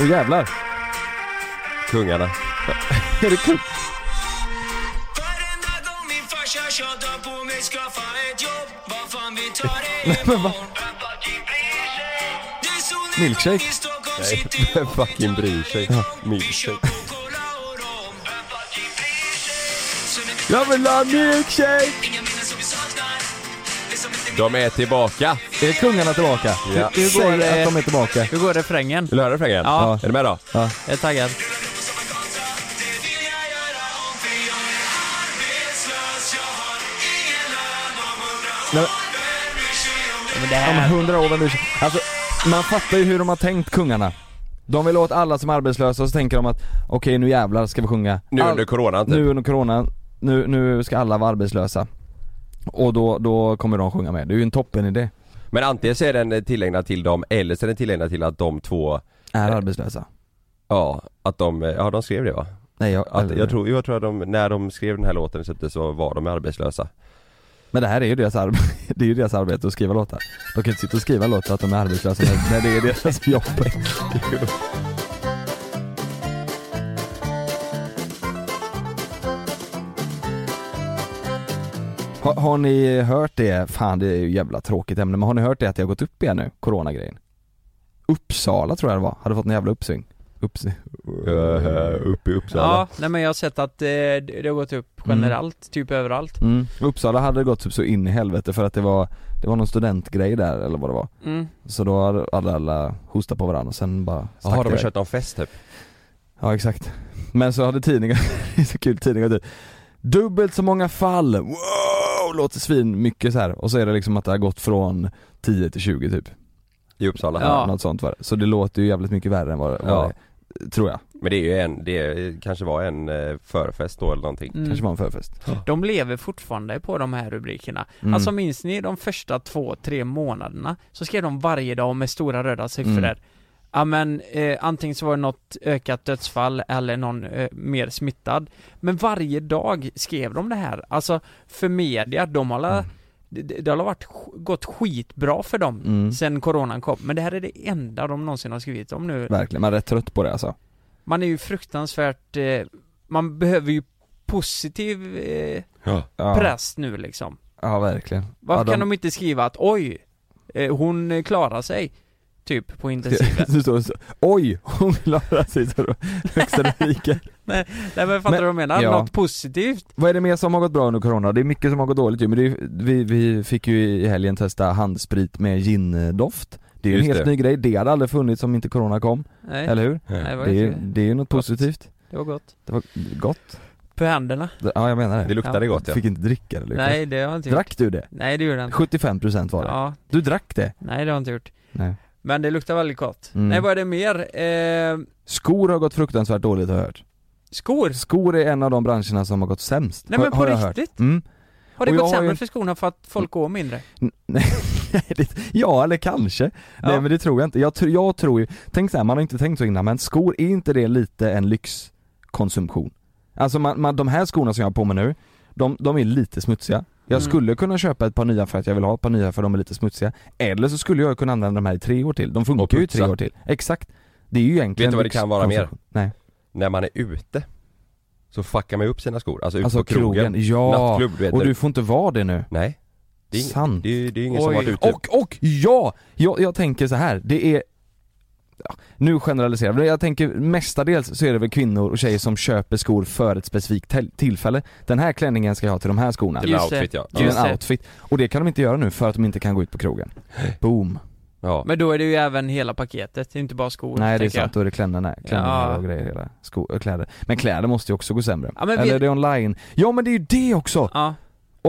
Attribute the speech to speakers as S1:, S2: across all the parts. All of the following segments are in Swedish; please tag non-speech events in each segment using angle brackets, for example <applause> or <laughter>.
S1: Och jävlar.
S2: Kungarna.
S1: <laughs> Är det kul?
S3: Varenda gång min farsa tjatar på mig skaffa ett jobb Vad fan vi tar det
S2: <laughs>
S1: men va? Milkshake?
S2: Nej, vem fucking bryr sig? Milkshake.
S1: Jag vill ha milkshake!
S2: De är tillbaka!
S1: Är kungarna tillbaka?
S2: Ja.
S1: Hur
S4: Hur går
S1: Säg
S4: det?
S1: att de är tillbaka.
S4: Hur går refrängen?
S2: Vill du höra refrängen?
S4: Ja.
S2: Är du med då?
S4: Jag är taggad. Ja, Men det
S1: Om
S4: här...
S1: hundra år, vem bryr sig? Alltså, man fattar ju hur de har tänkt kungarna. De vill åt alla som är arbetslösa och så tänker de att okej nu jävlar ska vi sjunga.
S2: Nu
S1: All-
S2: under coronan typ.
S1: nu under coronan, nu, nu ska alla vara arbetslösa. Och då, då kommer de sjunga med. Det är ju en toppen idé.
S2: Men antingen så är den eh, tillägnad till dem eller så är den tillägnad till att de två,
S1: Är arbetslösa.
S2: ja, att de, eh, ja de skrev det va?
S1: Nej jag,
S2: Att, jag tror, jag tror att de, när de skrev den här låten släpptes så var de arbetslösa.
S1: Men det här är ju deras, arb- <laughs> det är ju deras arbete att skriva låtar. De kan ju inte sitta och skriva låtar att de är arbetslösa när, när det är deras <laughs> jobb. Har, har ni hört det, fan det är ju jävla tråkigt ämne, men har ni hört det att det har gått upp igen nu, coronagrejen? Uppsala tror jag det var, hade fått en jävla uppsving. Uppsving. Eh,
S2: uppe i Uppsala.
S4: Ja, nej men jag har sett att eh, det, det har gått upp generellt, typ överallt.
S1: Mm. Uppsala hade det gått typ så in i helvete för att det var, det var någon studentgrej där eller vad det var.
S4: Mm.
S1: Så då hade alla, alla hostat på varandra och sen bara
S2: Ja, har
S1: stack
S2: de
S1: iväg.
S2: kört någon fest typ?
S1: Ja exakt. Men så hade tidningar, det är <laughs> så kul tidningar typ Dubbelt så många fall, wow! Låter svin mycket så här. och så är det liksom att det har gått från 10 till 20 typ.
S2: I Uppsala?
S4: Ja.
S1: Något sånt var det. Så det låter ju jävligt mycket värre än vad, vad
S2: Ja.
S1: det är, tror jag.
S2: Men det är ju en, det är, kanske var en eh, förfest då eller någonting.
S1: Kanske
S4: Mm.
S1: var en förfest.
S4: De lever fortfarande på de här rubrikerna.
S1: Mm.
S4: Alltså minns ni de första två, tre månaderna? Så skrev de varje dag med stora röda siffror.
S1: Mm.
S4: Ja men, eh, antingen så var det något ökat dödsfall eller någon eh, mer smittad. Men varje dag skrev de det här. Alltså, för media, de har alla, det, det har alla varit, sk- gått skitbra för dem
S1: Mm.
S4: sen coronan kom. Men det här är det enda de någonsin har skrivit om nu.
S1: Verkligen, man är rätt trött på det alltså.
S4: Man är ju fruktansvärt, eh, man behöver ju positiv eh,
S1: Ja,
S4: press nu liksom.
S1: ja verkligen.
S4: Varför
S1: ja,
S4: kan de inte skriva att oj, eh, hon eh, klarar sig? Typ
S1: <laughs>
S4: på intensiven.
S1: Så står det så, Oj, hon klarar sig så
S2: <laughs>
S1: då. Högsta rubriken.
S4: Nej men fattar
S1: Men-
S4: du vad jag menar?
S1: ja.
S4: Något positivt?
S1: Vad är det mer som har gått bra under corona? Det är mycket som har gått dåligt ju, men det är, vi, vi fick ju i helgen testa handsprit med gindoft Det är ju en
S2: Just
S1: helt
S2: det.
S1: ny grej, det hade aldrig funnits om inte corona kom,
S4: Nej,
S1: eller hur?
S4: nej det, var
S1: Det är, ju-
S4: inte,
S1: det är ju något positivt
S4: det var gott.
S1: Det var gott
S4: På händerna?
S1: Det- Ja jag menar
S2: Det
S1: det,
S2: luktade
S4: Ja.
S2: gott ja.
S1: fick inte dricka det Lukas.
S4: Nej det har jag inte gjort.
S1: Drack du det?
S4: Nej det gjorde jag inte.
S1: 75% var det,
S4: Ja,
S1: du drack det?
S4: nej det har jag inte gjort.
S1: Nej
S4: Men det luktar väldigt gott.
S1: Mm.
S4: Nej vad är det mer? Eh,
S1: Skor har gått fruktansvärt dåligt har jag hört
S4: skor?
S1: Skor är en av de branscherna som har gått sämst,
S4: Nej
S1: har,
S4: men på
S1: har jag
S4: riktigt?
S1: hört mm. <laughs>
S4: Har det
S1: Och jag
S4: gått
S1: har ju-
S4: sämre för skorna för att folk går mindre?
S1: N- Nej, det, ja eller kanske. Nej
S4: Ja.
S1: men det tror jag inte. Jag, tr- jag tror ju, tänk så här, man har inte tänkt så innan men skor, är inte det lite en lyxkonsumtion? Alltså man, man, de här skorna som jag har på mig nu, de, de är lite smutsiga. Jag
S4: Mm.
S1: skulle kunna köpa ett par nya för att jag vill ha ett par nya för de är lite smutsiga. Eller så skulle jag kunna använda de här i tre år till. De funkar ju i tre
S2: putsa.
S1: år till. Exakt. Det är ju egentligen
S2: Vet du vad det kan vara mer?
S1: lyxkonsumtion. Nej.
S2: När man är ute så fuckar man ju upp sina skor, alltså ut
S1: Alltså
S2: på krogen.
S1: krogen, ja.
S2: Nattklubb du vet
S1: Och
S2: du...
S1: du får inte vara det nu.
S2: Nej. Det är,
S1: Sant.
S2: ing- det är, det är ingen som
S4: Oj.
S2: varit ute.
S1: Och, och ja! Jag, jag tänker så här. det är ja, nu generaliserar jag, men jag tänker mestadels så är det väl kvinnor och tjejer som köper skor för ett specifikt tel- tillfälle. Den här klänningen ska jag ha till de här skorna.
S2: Till en
S4: Just det.
S2: outfit ja.
S1: Till
S4: Just
S1: en
S4: det.
S1: outfit. Och det kan de inte göra nu för att de inte kan gå ut på krogen. Boom.
S2: ja.
S4: Men då är det ju även hela paketet, det är inte bara
S1: Nej
S4: skor
S1: det är
S4: tänker jag.
S1: sant, då är det klänningarna, klänningar
S4: Ja.
S1: och grejer, hela skor, och kläder. Men kläder måste ju också gå sämre.
S4: Ja, men vi-
S1: Eller är det online? Ja men det är ju det också!
S4: Ja,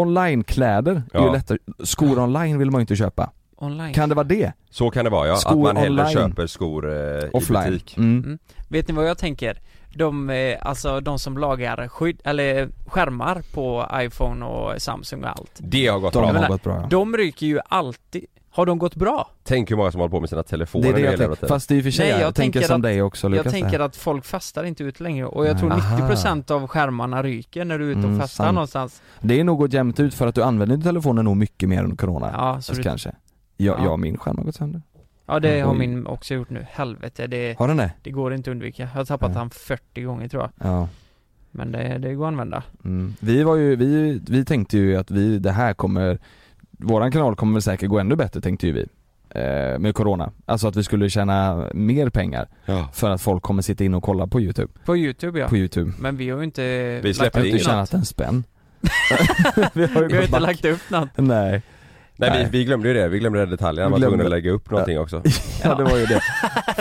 S1: Online-kläder är ju
S2: Ja.
S1: lättare, skor online vill man ju inte köpa.
S4: online.
S1: Kan det vara det?
S2: Så kan det vara ja,
S1: Skor
S2: att man hellre
S1: online.
S2: köper skor eh, i
S1: Offline?
S2: butik.
S1: Mm.
S4: Vet ni vad jag tänker? De, eh, alltså de som lagar skydd, eller eh, skärmar på iPhone och Samsung och allt
S2: Det har gått
S1: De
S2: bra.
S1: har
S4: menar,
S1: gått bra ja.
S4: De ryker ju alltid Har de gått bra?
S2: Tänk hur många som håller på med sina telefoner
S1: Det är det jag
S2: hela
S1: tänker,
S2: tiden.
S1: fast det är i och för sig,
S4: Nej,
S1: jag,
S4: jag
S1: tänker
S4: tänker
S1: som
S4: att-
S1: dig också Lukas
S4: jag tänker
S1: där.
S4: att folk fastar inte ut längre och jag
S1: Nej.
S4: tror
S1: Aha.
S4: 90% av skärmarna ryker när du är ute och
S1: Mm,
S4: fastar
S1: sant.
S4: någonstans
S1: Det är nog gått jämnt ut för att du använder din telefonen nog mycket mer under corona,
S4: Ja, så du,
S1: kanske jag,
S4: Ja.
S1: jag och min skärm har gått sönder
S4: Ja det har
S1: Oj.
S4: min också gjort nu, helvete det,
S1: Har den det?
S4: det går inte att undvika. Jag har tappat
S1: Nej.
S4: han 40 gånger tror jag.
S1: Ja.
S4: Men det, det går att använda.
S1: Mm. Vi var ju, vi, vi tänkte ju att vi, det här kommer, våran kanal kommer väl säkert gå ännu bättre tänkte ju vi. Eh, med Corona. Alltså att vi skulle tjäna mer pengar
S2: Ja.
S1: för att folk kommer sitta in och kolla på YouTube.
S4: På youtube ja.
S1: På YouTube.
S4: Men vi har ju inte
S2: Vi
S1: Jag
S2: släpper
S1: har
S2: Det är
S1: inte
S2: inget.
S1: tjänat en
S4: <laughs>
S1: spänn. <laughs> vi har ju
S4: Vi har
S1: gått
S4: inte
S1: back.
S4: lagt upp något.
S1: Nej. <laughs>
S2: Nej
S1: Nej.
S2: vi, vi glömde ju det, vi glömde den detaljen,
S1: Vi
S2: man var tvungen
S1: glömde-
S2: att lägga upp
S1: <laughs>
S2: någonting också
S1: Ja det var ju det.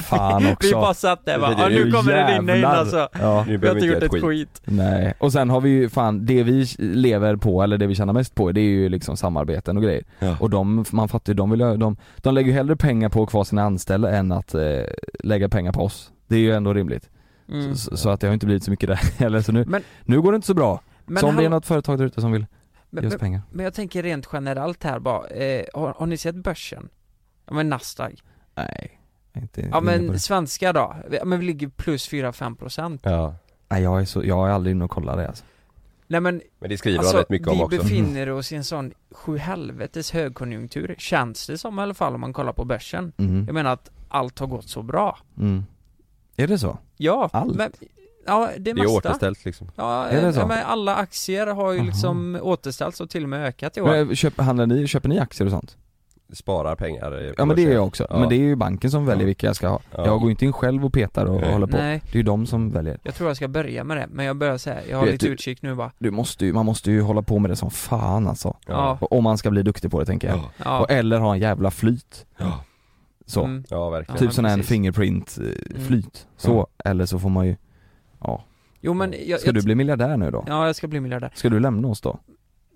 S1: Fan också.
S4: <laughs> Vi bara satt där bara,
S2: Det- det-
S4: "Ah, nu kommer det rinna in
S1: Jävlar.
S4: alltså.
S1: Ja.
S2: Nu
S4: Vi har
S2: behöver
S4: inte
S2: vi
S4: gjort ett skit.
S1: Nej, och sen har vi ju fan, det vi lever på eller det vi tjänar mest på det är ju liksom samarbeten och grejer.
S2: Ja.
S1: Och de, man fattar ju, de vill ju- de, de lägger ju hellre pengar på att ha kvar sina anställda än att eh, lägga pengar på oss. Det är ju ändå rimligt.
S4: Mm.
S1: Så, så att det har inte blivit så mycket där <laughs> heller så nu,
S4: Men-
S1: nu går det inte så bra.
S4: Men,
S1: så om det är
S4: hallå,
S1: något företag där ute som vill
S4: men,
S1: ge oss
S4: men,
S1: pengar.
S4: men jag tänker rent generellt här bara, eh, har, har ni sett börsen? Ja men Nasdaq.
S1: Nej, jag är inte
S4: Ja
S1: inne på
S4: men
S1: det.
S4: svenska då? Ja, men vi ligger plus 4-5%.
S2: Ja.
S1: Nej jag är så, jag är aldrig inne och kollar det alltså.
S4: Nej men
S2: Men det skriver
S4: alltså,
S2: han rätt mycket om
S4: vi
S2: också
S4: befinner oss i en sån sjuhelvetes högkonjunktur, känns det som i alla fall om man kollar på börsen.
S1: Mm.
S4: Jag menar att allt har gått så bra.
S1: Mm. Är det så?
S4: Ja,
S1: Allt?
S4: men Ja, det är
S2: Det är
S4: massa.
S2: återställt liksom
S4: ja, eh,
S1: Är det så?
S4: ja, men alla aktier har ju
S1: Aha.
S4: liksom återställts och till och med ökat i år.
S1: Men, eh, köp, handlar ni, köper ni aktier och sånt?
S2: Sparar pengar eh, på
S1: Ja men det
S2: börsen.
S1: gör jag också,
S2: Ja.
S1: men det är ju banken som väljer
S2: Ja.
S1: vilka jag ska ha.
S2: Ja.
S1: Jag går inte in själv och petar och
S2: Nej.
S1: håller på.
S4: Nej,
S1: Det är ju de som väljer.
S4: jag tror jag ska börja med det, men jag börjar säga, jag har
S1: Vet
S4: lite
S1: du-
S4: utkik nu bara.
S1: Du måste ju, man måste ju hålla på med det som fan alltså.
S4: Ja,
S1: Och Om man ska bli duktig på det tänker jag.
S2: Ja,
S4: ja.
S1: Och, eller ha en jävla flyt.
S2: Ja.
S1: Så.
S4: Mm.
S2: ja verkligen
S1: Typ
S4: men
S1: sån här en
S4: precis.
S1: fingerprint eh,
S4: Mm.
S1: flyt. Så, eller så får man ju, ja.
S4: Jo men jag, jag,
S1: Ska du bli miljardär nu då?
S4: Ja, jag ska bli miljardär.
S1: Ska du lämna oss då?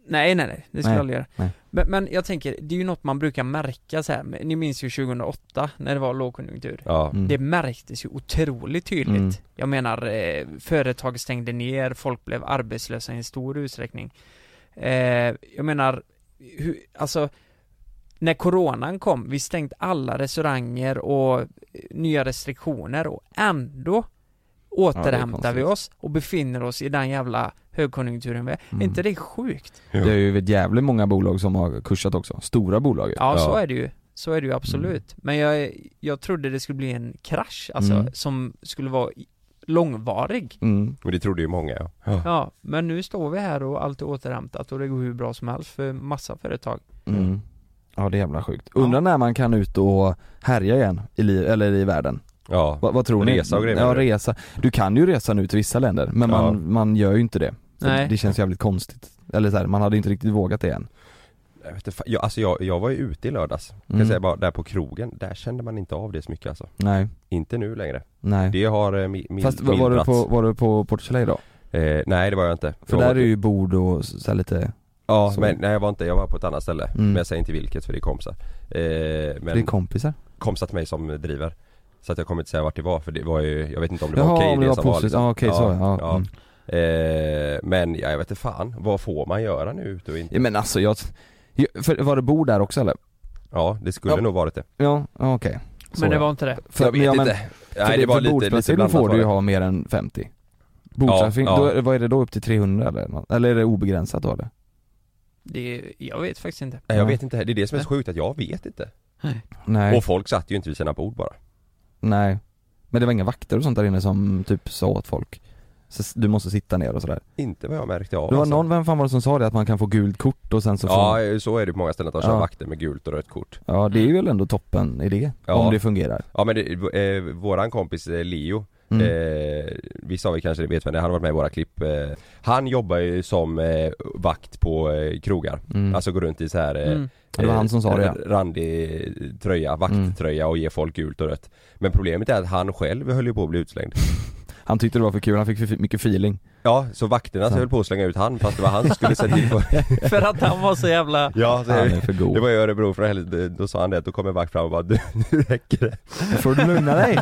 S4: Nej, nej, nej, det ska
S1: Nej,
S4: jag aldrig göra.
S1: nej.
S4: Men, men jag tänker, det är ju något man brukar märka så här. men ni minns ju 2008 när det var lågkonjunktur.
S2: Ja,
S1: Mm.
S4: Det märktes ju otroligt tydligt.
S1: Mm.
S4: Jag menar, eh, företag stängde ner, folk blev arbetslösa i en stor utsträckning. Eh, jag menar, hur, alltså, när coronan kom, vi stängt alla restauranger och eh, nya restriktioner och ändå återhämtar vi
S1: konstigt.
S4: oss och befinner oss i den jävla högkonjunkturen vi är.
S1: Mm.
S4: Är inte det sjukt?
S1: Det är ju ett jävligt många bolag som har kursat också. Stora bolag ju.
S4: Ja,
S2: Ja.
S4: så är det ju. Så är det ju absolut. Men jag, jag trodde det skulle bli en krasch, alltså,
S1: Mm.
S4: som skulle vara i- långvarig.
S1: Mm.
S2: och det trodde ju många ja
S4: Ja, men nu står vi här och allt är återhämtat och det går hur bra som helst för massa företag.
S1: Mm. Ja det är jävla sjukt. Undrar när man kan ut och härja igen i liv, eller i världen.
S2: Ja,
S1: Vad, vad tror ni?
S2: Resa och grejer,
S1: Ja,
S2: menar du?
S1: resa. Du kan ju resa nu till vissa länder, men man,
S2: Ja.
S1: man gör ju inte det. För
S4: Nej.
S1: Det känns jävligt konstigt. Eller så här, man hade inte riktigt vågat det än.
S2: jag, vet inte, fan, jag, alltså jag, jag var ju ute i lördags, kan
S1: Mm.
S2: jag säga bara, där på krogen, där kände man inte av det så mycket alltså
S1: Nej,
S2: Inte nu längre,
S1: nej.
S2: det har eh, mi, mil,
S1: Fast var, var, du
S2: mildrats.
S1: på, var du på Port Soleil då?
S2: eh, Nej det var jag inte
S1: För
S2: jag
S1: där
S2: var,
S1: är ju bord och så här lite,
S2: Ja
S1: så-
S2: men nej jag var inte, jag var på ett annat ställe,
S1: Mm.
S2: men jag säger inte vilket för det är kompisar eh, Men
S1: det är kompisar.
S2: kompisar till mig som driver Så att jag kommer inte säga vart det var för det var ju, jag vet inte om det var
S1: Jaha,
S2: okej
S1: om det var
S2: som var
S1: positivt.
S2: liksom.
S1: Ja okej så ja.
S2: ja.
S1: Mm.
S2: Eh, Men ja, jag vet inte fan, vad får man göra nu ute och inte?
S1: ja. Men alltså jag, ju- för, var det bord där också eller?
S2: Ja det skulle
S1: Ja.
S2: nog varit det
S1: Ja, ja, okej. Så
S4: men det
S1: ja.
S4: var inte det.
S1: För,
S2: Jag vet
S1: men, ja, men,
S2: inte,
S1: För
S2: nej det,
S1: det,
S2: var
S1: för
S2: lite, lite
S1: bordsplacering
S2: blandat
S1: får
S2: var
S1: du ju
S2: det.
S1: ha mer än 50. Bordsplacering,
S2: Ja, ja.
S1: då- vad är det då upp till 300 eller? nåt? Eller är det obegränsat då eller?
S4: det. Jag vet faktiskt inte.
S2: Nej, Jag vet inte, det är det som är så sjukt att jag vet inte
S1: Nej.
S2: Och folk satt ju inte vid sina bord bara
S1: Nej Men det var inga vakter och sånt där inne som typ sa åt folk så s- Du måste sitta ner och sådär
S2: Inte vad jag märkte av
S1: Det var
S2: alltså.
S1: någon, vem fan var det som sa det? Att man kan få gult kort och sen så får ja,
S2: Ja så är det på många ställen att de kör
S1: Ja.
S2: vakter med gult och rött kort
S1: ja det är väl ändå toppen idé
S2: Ja.
S1: Om det fungerar
S2: Ja men det, eh, våran kompis eh, Leo
S1: mm.
S2: Eh, vissa av er kanske vet vem det är, han har varit med i våra klipp eh, Han jobbar ju som eh, vakt på eh, krogar
S1: Mm.
S2: Alltså går runt i så här eh,
S4: Mm.
S1: Ja, det var han som sa det, ja.
S2: eh, Randig eh, tröja, vakttröja och ger folk gult och rött Men problemet är att han själv höll ju på att bli utslängd
S1: Han tyckte det var för kul, han fick för fi- mycket feeling
S2: Ja, så vakterna
S1: Så.
S2: höll på att slänga ut han fast det var han som skulle sätta
S1: <laughs>
S2: till på
S4: För att han var så jävla...
S2: Ja,
S1: Han
S2: så,
S1: är för
S2: Alltså, det
S1: god
S2: var i Örebro för helvete, då sa han det, då kom en vakt fram och bara du, <laughs> nu räcker det
S1: Nu får du lugna
S2: <laughs>
S1: dig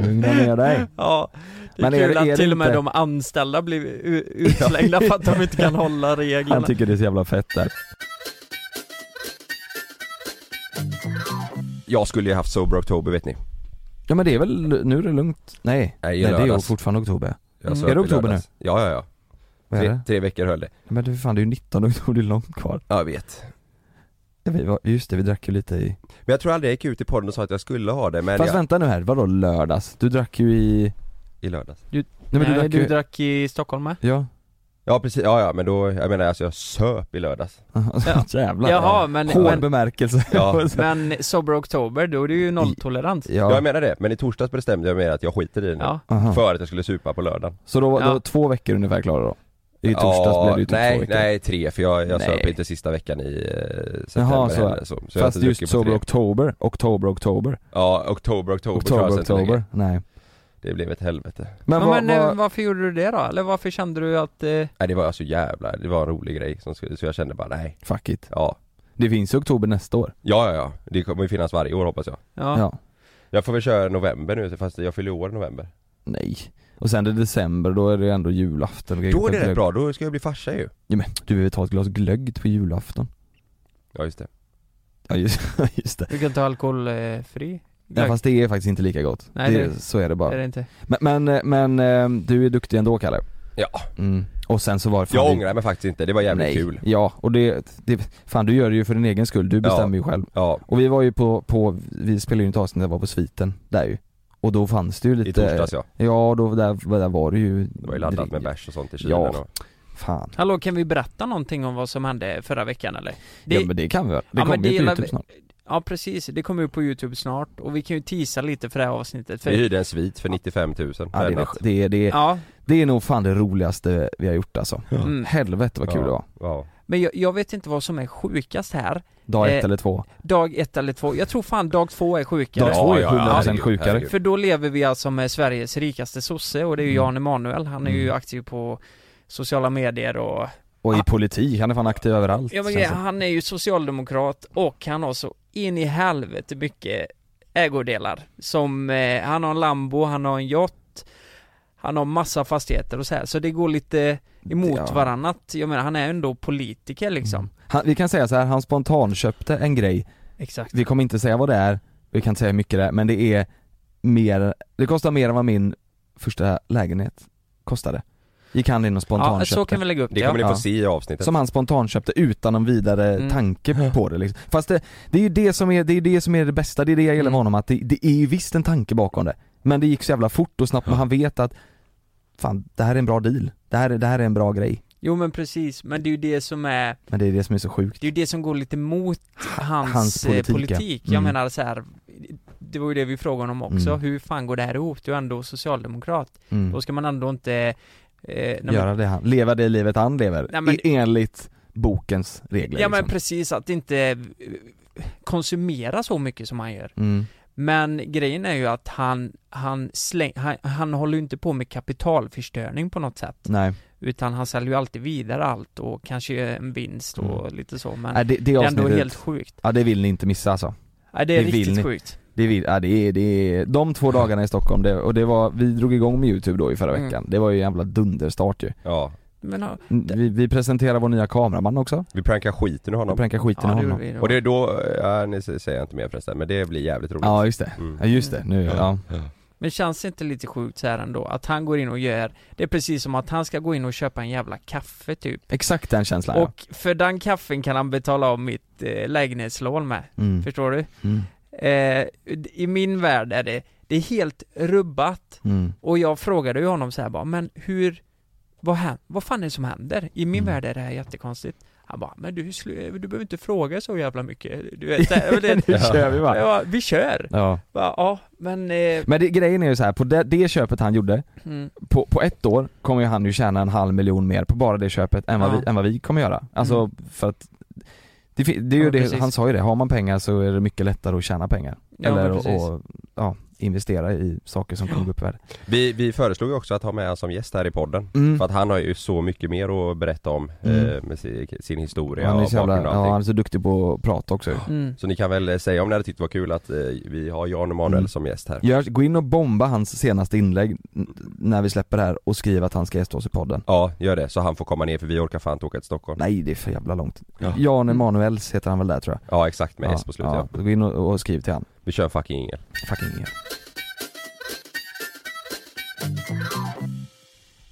S1: Lugna ner dig
S4: Ja, det är
S1: Men är
S4: kul
S1: det-
S4: att
S1: är det
S4: till och med
S1: inte-
S4: de anställda blir
S1: <laughs>
S4: u- utslängda för att de inte kan hålla
S1: Han
S4: reglerna.
S1: tycker det är så jävla fett där
S2: Jag skulle ju haft Sober October vet ni
S1: Ja men det är väl, nu är det lugnt Nej,
S2: Nej, i
S1: Nej det är ju
S2: lördags.
S1: fortfarande oktober
S2: Jag
S4: Mm.
S2: söp
S1: Är det
S2: i
S1: oktober
S2: lördags. Ja, ja, ja
S1: Vad är
S2: tre,
S1: det?
S2: tre veckor höll det
S1: Men du fan det är ju 19 oktober, det är långt kvar
S2: Ja, jag vet
S1: Vi var, just det, vi drack ju lite i...
S2: Men jag tror aldrig jag gick ut i podden och sa att jag skulle ha det men
S1: Fast
S2: jag,
S1: vänta nu här, vadå lördags? Du drack ju i...
S2: i lördags
S1: Nej men du drack ju...
S4: i Stockholm med?
S1: Ja,
S2: Ja precis, ja ja men då, jag menar alltså jag söp
S1: <laughs>
S2: i lördags
S4: Ja.
S1: jävlar
S4: Jaha, men,
S1: Hård
S4: men,
S1: bemärkelse
S2: Ja.
S4: men Sober Oktober, då är det ju nolltolerans.
S1: ja.
S2: Ja jag menar det, men i torsdags bestämde jag mig att jag skiter i det nu
S4: Ja.
S1: Aha.
S2: För att jag skulle supa på lördagen
S1: Så då, då
S4: Ja.
S1: två veckor ungefär klara då? I torsdags blev det ju typ
S2: nej,
S1: två veckor
S2: Nej, tre för jag, jag
S4: Nej.
S2: söp inte sista veckan i eh, september
S1: Jaha, så.
S2: heller, så, så jag har
S1: Fast
S2: inte druckit
S1: just
S2: på
S1: Sober
S2: tre.
S1: Oktober, Oktober, Oktober,
S2: Ja, oktober, oktober,
S1: Oktober,
S2: klarade sig inte
S1: Oktober,
S2: länge.
S1: nej
S2: Det blev ett helvete
S1: Men,
S4: Men,
S1: vad,
S4: men eh,
S1: vad,
S4: varför gjorde du det då? Eller varför kände du att... Eh,
S2: Nej det var alltså jävla, det var en rolig grej som skulle, så jag kände bara nej,
S1: fuck it
S2: ja
S1: Det finns ju Oktober nästa år
S2: Ja ja ja, det kommer ju finnas varje år hoppas jag
S4: ja.
S1: Ja,
S2: Jag får väl köra november nu fast jag fyller år i november
S1: Nej Och sen är det december, då är det ändå julafton
S2: Då är det rätt
S1: Glögg.
S2: bra, då ska jag bli farsa ju
S1: ja, men, Du vill ta ett glas glögg på julafton?
S2: Ja just det
S1: Ja just, <laughs> just det
S4: Du kan ta eh, alkoholfri?
S1: Ja, fast det är faktiskt inte lika gott,
S4: Nej,
S1: det,
S4: det-
S1: så är det bara
S4: Är det inte?
S1: Men, men, eh, men eh, du är duktig ändå Kalle
S2: Ja.
S1: mm. Och sen så var det fan-
S2: Jag ångrar mig faktiskt inte, det var jävligt
S1: Nej.
S2: kul
S1: Ja, och det, det, fan du gör det ju för din egen skull, du bestämmer ju själv
S2: Ja,
S1: Och vi var ju på, på vi spelade ju inte avsnitt, jag var på sviten, där ju Och då fanns det ju lite
S2: i torsdags ja
S1: Ja, då, där, där var det ju
S2: Det var ju laddat med bärs och sånt i kylen
S1: Ja.
S2: och...
S1: Fan
S4: Hallå, kan vi berätta någonting om vad som hände förra veckan eller? Det-
S1: Ja men det kan vi väl? Det
S4: Ja, men
S1: kommer ju
S4: det
S1: på
S4: gillar
S1: youtube
S4: vi-
S1: snart
S4: Ja precis, det kommer ut på youtube snart och vi kan ju teasa lite för det här avsnittet för...
S2: Vi hyrde en svit för 95 000
S1: ja, det, är,
S2: per
S1: nog-
S2: natt.
S1: det, är, det, är,
S4: Ja,
S1: det är nog fan det roligaste vi har gjort alltså
S4: mm.
S1: Helvete vad kul
S2: Ja.
S1: det var
S2: Ja,
S4: men jag, jag vet inte vad som är sjukast här
S1: Dag ett
S4: Eh,
S1: eller två
S4: Dag ett eller två, jag tror fan dag två är sjukare
S1: Dag två är
S2: ja,
S1: 100%
S2: ja,
S1: sjukare
S2: herregud.
S4: För då lever vi alltså med Sveriges rikaste sosse och det är ju
S1: Mm.
S4: Jan Emanuel, han är ju
S1: Mm.
S4: aktiv på sociala medier och
S1: Och i
S4: Ah.
S1: politik, han är fan aktiv överallt
S4: Ja men
S1: känns det.
S4: han är ju socialdemokrat och han har så in i helvete mycket ägodelar Som, eh, han har en Lambo, han har en yacht Han har massa fastigheter och så här så det går lite emot
S1: Ja.
S4: varannat Jag menar han är ändå politiker liksom
S1: Mm. han, Vi kan säga så här, han spontanköpte en grej
S4: Exakt
S1: Vi kommer inte säga vad det är, vi kan inte säga hur mycket det är, men det är mer, det kostar mer än vad min första lägenhet kostade Gick han in och
S4: Ja
S1: spontanköpte
S4: så kan vi lägga upp det,
S2: det kommer
S4: ja.
S2: ni
S1: Ja.
S2: få se i avsnittet
S1: Som han spontanköpte utan någon vidare
S4: Mm.
S1: tanke på det liksom. Fast det, det är ju det som är det, är det, som är det bästa, det är det jag gillar med
S4: Mm.
S1: honom att det, det är ju visst en tanke bakom det Men det gick så jävla fort och snabbt och han vet att Fan, det här är en bra deal, det här, är- det här är en bra grej
S4: Jo men precis, men det är ju det som är
S1: Men det är det som är så sjukt
S4: Det är ju det som går lite mot hans,
S1: hans
S4: eh,
S1: politik,
S4: politik,
S1: ja.
S4: Jag
S1: Mm.
S4: menar så här. Det var ju det vi frågade honom också,
S1: Mm.
S4: hur fan går det här ihop? Du är ändå socialdemokrat
S1: mm.
S4: Då ska man ändå inte eh, nej, men,
S1: Göra det han, leva det livet han lever,
S4: Nej, men-
S1: i- enligt bokens regler
S4: Ja men
S1: liksom.
S4: precis, att inte eh, konsumera så mycket som han gör
S1: mm.
S4: Men grejen är ju att han, han, släng, han, han håller ju inte på med kapitalförstöring på något sätt
S1: Nej,
S4: Utan han säljer ju alltid vidare allt och kanske en vinst och lite så men
S1: Mm. Nej det, det
S4: Det är ändå
S1: avsnittet,
S4: helt sjukt.
S1: ja det vill ni inte missa alltså
S4: Nej, det är
S1: Det vill ni.
S4: riktigt sjukt.
S1: Det vill, ja det är, det är, de två dagarna i Stockholm det, och det var, vi drog igång med youtube då i förra
S4: Mm.
S1: veckan Det var ju en jävla dunderstart ju
S2: Ja,
S4: Men, ja,
S1: Vi, vi presenterar vår nya kameraman också,
S2: vi prankar skiten ur
S1: vi
S2: honom
S1: prankar skiten
S4: ja,
S1: av
S4: det
S1: honom
S4: gjorde vi då.
S2: Och det är då, ja, ni s- säger jag inte mer förresten men det blir jävligt roligt
S1: Ja just det,
S2: Mm.
S1: ja just det, nu ja,
S4: Men känns det inte lite sjukt så här ändå? Att han går in och gör, det är precis som att han ska gå in och köpa en jävla kaffe typ.
S1: exakt den känslan ja.
S4: Och för den kaffen kan han betala av mitt eh, lägenhetslån med.
S1: mm.
S4: Förstår du?
S1: Mm.
S4: Eh, I min värld är det, det är helt rubbat.
S1: Mm.
S4: Och jag frågade ju honom så här bara, men hur, vad, hän- vad fan är det som händer? I min
S1: Mm.
S4: värld är det här jättekonstigt. Han bara, men du, slu- du behöver inte fråga så jävla mycket. Du vet, det, här-
S1: <laughs>
S4: det,
S1: Nu kör vi va?
S4: ja, vi kör.
S1: Ja.
S4: Bara, ja, men, eh,
S1: Men det, grejen är ju så här, på det, det köpet han gjorde,
S4: mm,
S1: på, på ett år kommer ju han ju tjäna en halv miljon mer på bara det köpet än vad,
S4: Ja.
S1: vi, än vad vi kommer göra. Alltså
S4: Mm.
S1: för att det, fi- det är ju
S4: Ja,
S1: det,
S4: precis.
S1: han sa ju det, har man pengar så är det mycket lättare att tjäna pengar.
S4: ja,
S1: Eller
S4: men precis.
S1: att ja, investera i saker som kommer gå upp i värde.
S2: vi, vi föreslog ju också att ha med honom som gäst här i podden
S1: Mm.
S2: För att han har ju så mycket mer att berätta om
S1: Mm.
S2: eh, med sin, sin
S1: Och
S2: historia
S1: Han är
S2: och
S1: så
S2: bakgrund
S1: jävla,
S2: och
S1: ja,
S2: allting
S1: han är så duktig på att prata också
S4: Mm.
S2: Så ni kan väl eh, säga om ni hade tyckt det var kul att eh, vi har Jan Emanuel
S1: Mm.
S2: som gäst här
S1: Gör, gå in och bomba hans senaste inlägg n- när vi släpper det här och skriv att han ska gästa oss i podden
S2: Ja, gör det så han får komma ner för vi orkar fan inte åka till Stockholm
S1: Nej det är för jävla långt
S2: Ja.
S1: Jan Emanuels heter han väl där tror jag
S2: Ja exakt med S på slutet ja.
S1: ja. Gå in och, och skriv till han,
S2: Vi kör en fucking ingen.
S1: fucking ingen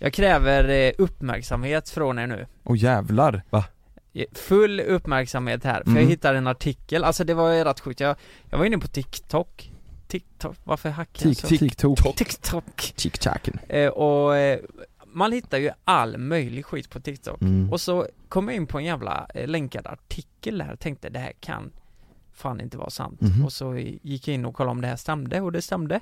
S4: Jag kräver eh, uppmärksamhet från er nu.
S1: Åh jävlar! Va?
S4: full uppmärksamhet här, för
S1: Mm.
S4: jag hittade en artikel, alltså det var ju rätt sjukt, jag, jag var inne på TikTok TikTok, varför hackar jag
S1: Tik,
S4: så?
S1: tik, tok.
S4: TikTok
S1: Tik, taken.
S4: eh, Och eh, man hittar ju all möjlig skit på TikTok
S1: Mm.
S4: Och så kom jag in på en jävla eh, länkad artikel där och tänkte det här kan fan inte vara sant
S1: Mhm.
S4: Och så gick jag in och kollade om det här stämde och det stämde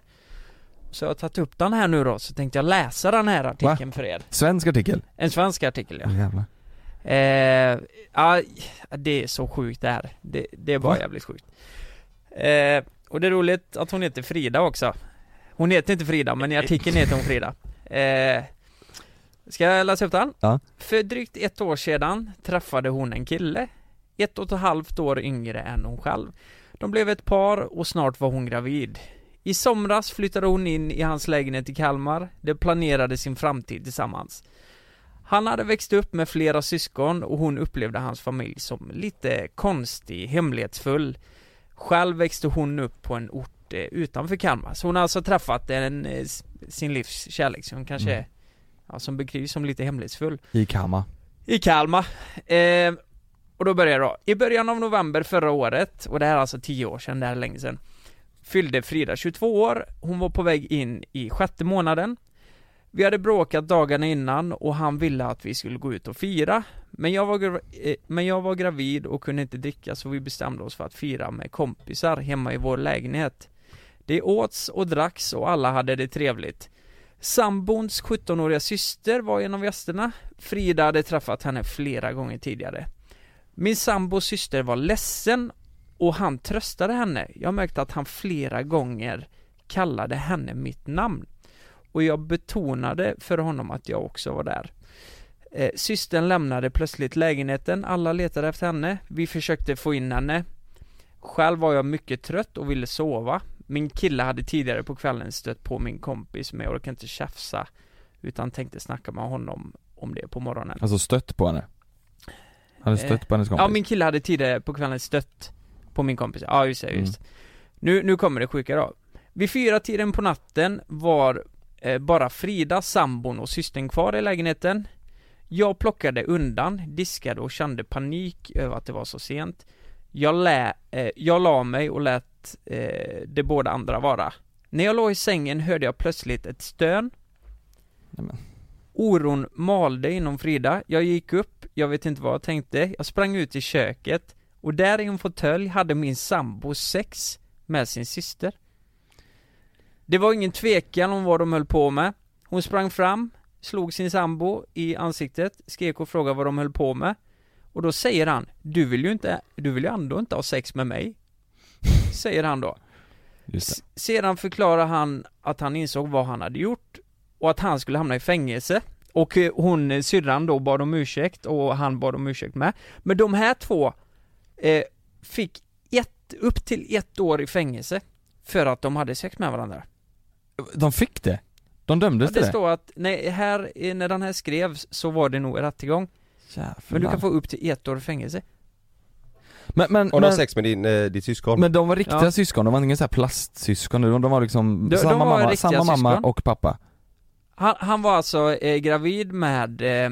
S4: Så jag har tagit upp den här nu då, så tänkte jag läsa den här artikeln för er
S1: Svensk artikel.
S4: En svensk artikel ja
S1: Jävlar.
S4: Eh, ja, det är så sjukt det här. Det, det är bara
S1: Va?
S4: jävligt sjukt. Eh, och det är roligt att hon heter Frida också. Hon heter inte Frida, men i artikeln heter hon Frida. Eh, ska jag läsa upp den?
S1: Ja.
S4: För drygt ett år sedan träffade hon en kille. Ett och ett halvt år yngre än hon själv. De blev ett par och snart var hon gravid. I somras flyttade hon in i hans lägenhet i Kalmar. De planerade sin framtid tillsammans. Han hade växt upp med flera syskon och hon upplevde hans familj som lite konstig, hemlighetsfull. Själv växte hon upp på en ort eh, utanför Kalmar, så hon har alltså träffat en, eh, s- sin livs kärlek som kanske
S1: Mm.
S4: är, ja, som beskrivs som lite hemlighetsfull.
S1: I Kama.
S4: I Kalmar. Eh, och då börjar jag då. I början av november förra året, och det här är alltså 10 år sedan, det här är länge sedan, fyllde Frida 22 år. Hon var på väg in i sjätte månaden. Vi hade bråkat dagarna innan och han ville att vi skulle gå ut och fira. Men jag var, gra- eh, men jag var gravid och kunde inte dricka så vi bestämde oss för att fira med kompisar hemma i vår lägenhet. Det åts och dracks och alla hade det trevligt. Sambons 17-åriga syster var en av gästerna. Frida hade träffat henne flera gånger tidigare. Min sambos syster var ledsen och han tröstade henne. Jag märkte att han flera gånger kallade henne mitt namn. Och jag betonade för honom att jag också var där. Eh, systern lämnade plötsligt lägenheten, alla letade efter henne. Vi försökte få in henne. Själv var jag mycket trött och ville sova. Min kille hade tidigare på kvällen stött på min kompis men jag orkade inte tjafsa utan tänkte snacka med honom om det på morgonen.
S1: Alltså stött på henne. Han hade
S4: Eh,
S1: stött på hennes kompis.
S4: Ja, min kille hade tidigare på kvällen stött på min kompis, ja just det, just det. nu, nu kommer det sjuka då Vid fyra tiden på natten var eh, bara Frida, sambon och systern kvar i lägenheten Jag plockade undan, diskade och kände panik över att det var så sent Jag, lä, eh, jag la mig och lät eh, de båda andra vara När jag låg i sängen hörde jag plötsligt ett stön
S1: Nämen.
S4: Oron malde inom Frida, jag gick upp, jag vet inte vad jag tänkte, jag sprang ut i köket och där i en fåtölj hade min sambo sex med sin syster Det var ingen tvekan om vad de höll på med Hon sprang fram, slog sin sambo i ansiktet, skrek och frågade vad de höll på med Och då säger han, du vill ju inte, du vill ju ändå inte ha sex med mig Säger han då
S1: Just det.
S4: S- Sedan förklarar han att han insåg vad han hade gjort och att han skulle hamna i fängelse. Och eh, hon, eh, syrran då, bad om ursäkt och han bad om ursäkt med. Men de här två eh, fick ett, upp till ett år i fängelse för att de hade sex med varandra.
S1: De fick det? De
S4: Ja,
S1: dömdes
S4: det
S1: till det?
S4: står att, nej, här, eh, när den här skrevs så var det nog rättegång. Men du kan få upp till ett år i fängelse.
S1: men, men,
S2: Om du har
S1: men,
S2: sex med din, eh, ditt syskon?
S1: men de var riktiga
S4: Ja.
S1: syskon, de var inga så här plastsyskon, de, de var liksom
S4: De- de
S1: samma,
S4: var
S1: mamma,
S4: riktiga
S1: samma mamma
S4: syskon.
S1: och pappa.
S4: Han, han var alltså eh, gravid med eh,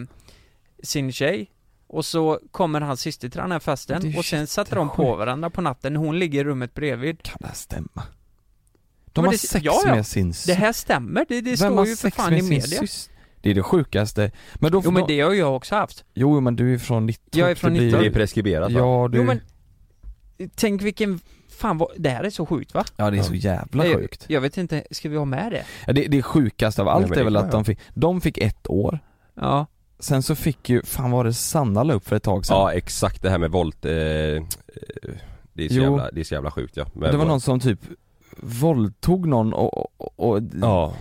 S4: sin tjej Och så kommer hans syster till den här
S1: Det är
S4: festen
S1: ju
S4: och sen sätter de på
S1: jättesjukt.
S4: varandra på natten Hon ligger i rummet bredvid
S1: Kan det här stämma? De
S4: Men
S1: har
S4: det-
S1: sex
S4: ja, ja.
S1: med sin syster.
S4: Det här stämmer, det, det
S1: Vem
S4: står
S1: har
S4: ju för
S1: sex
S4: fan
S1: med
S4: i
S1: sin
S4: media
S1: sys- Det är det sjukaste. Men då,
S4: Jo men det har ju jag också haft
S1: jo, men du är från 90
S4: Jag är från
S1: det blir-
S2: Det
S4: Nittorp.
S2: är preskriberat va?
S1: Ja du,
S4: Jo men Tänk vilken, fan vad, det här är så sjukt va?
S1: ja det är så jävla
S4: Nej,
S1: sjukt.
S4: Jag vet inte, ska vi ha med det?
S1: Ja, det, det sjukaste av allt
S2: men
S1: är
S2: det
S1: väl
S2: kan
S1: att
S2: jag.
S1: de fick, de fick ett år,
S4: Ja,
S1: sen så fick ju, fan var det Sanna la upp för ett tag sedan?
S2: Ja exakt det här med våld eh, eh, det, är så
S1: Jo.
S2: jävla, det är så jävla sjukt ja Men
S1: det var
S2: vad-
S1: någon som typ våldtog någon och, och, och
S2: Ja,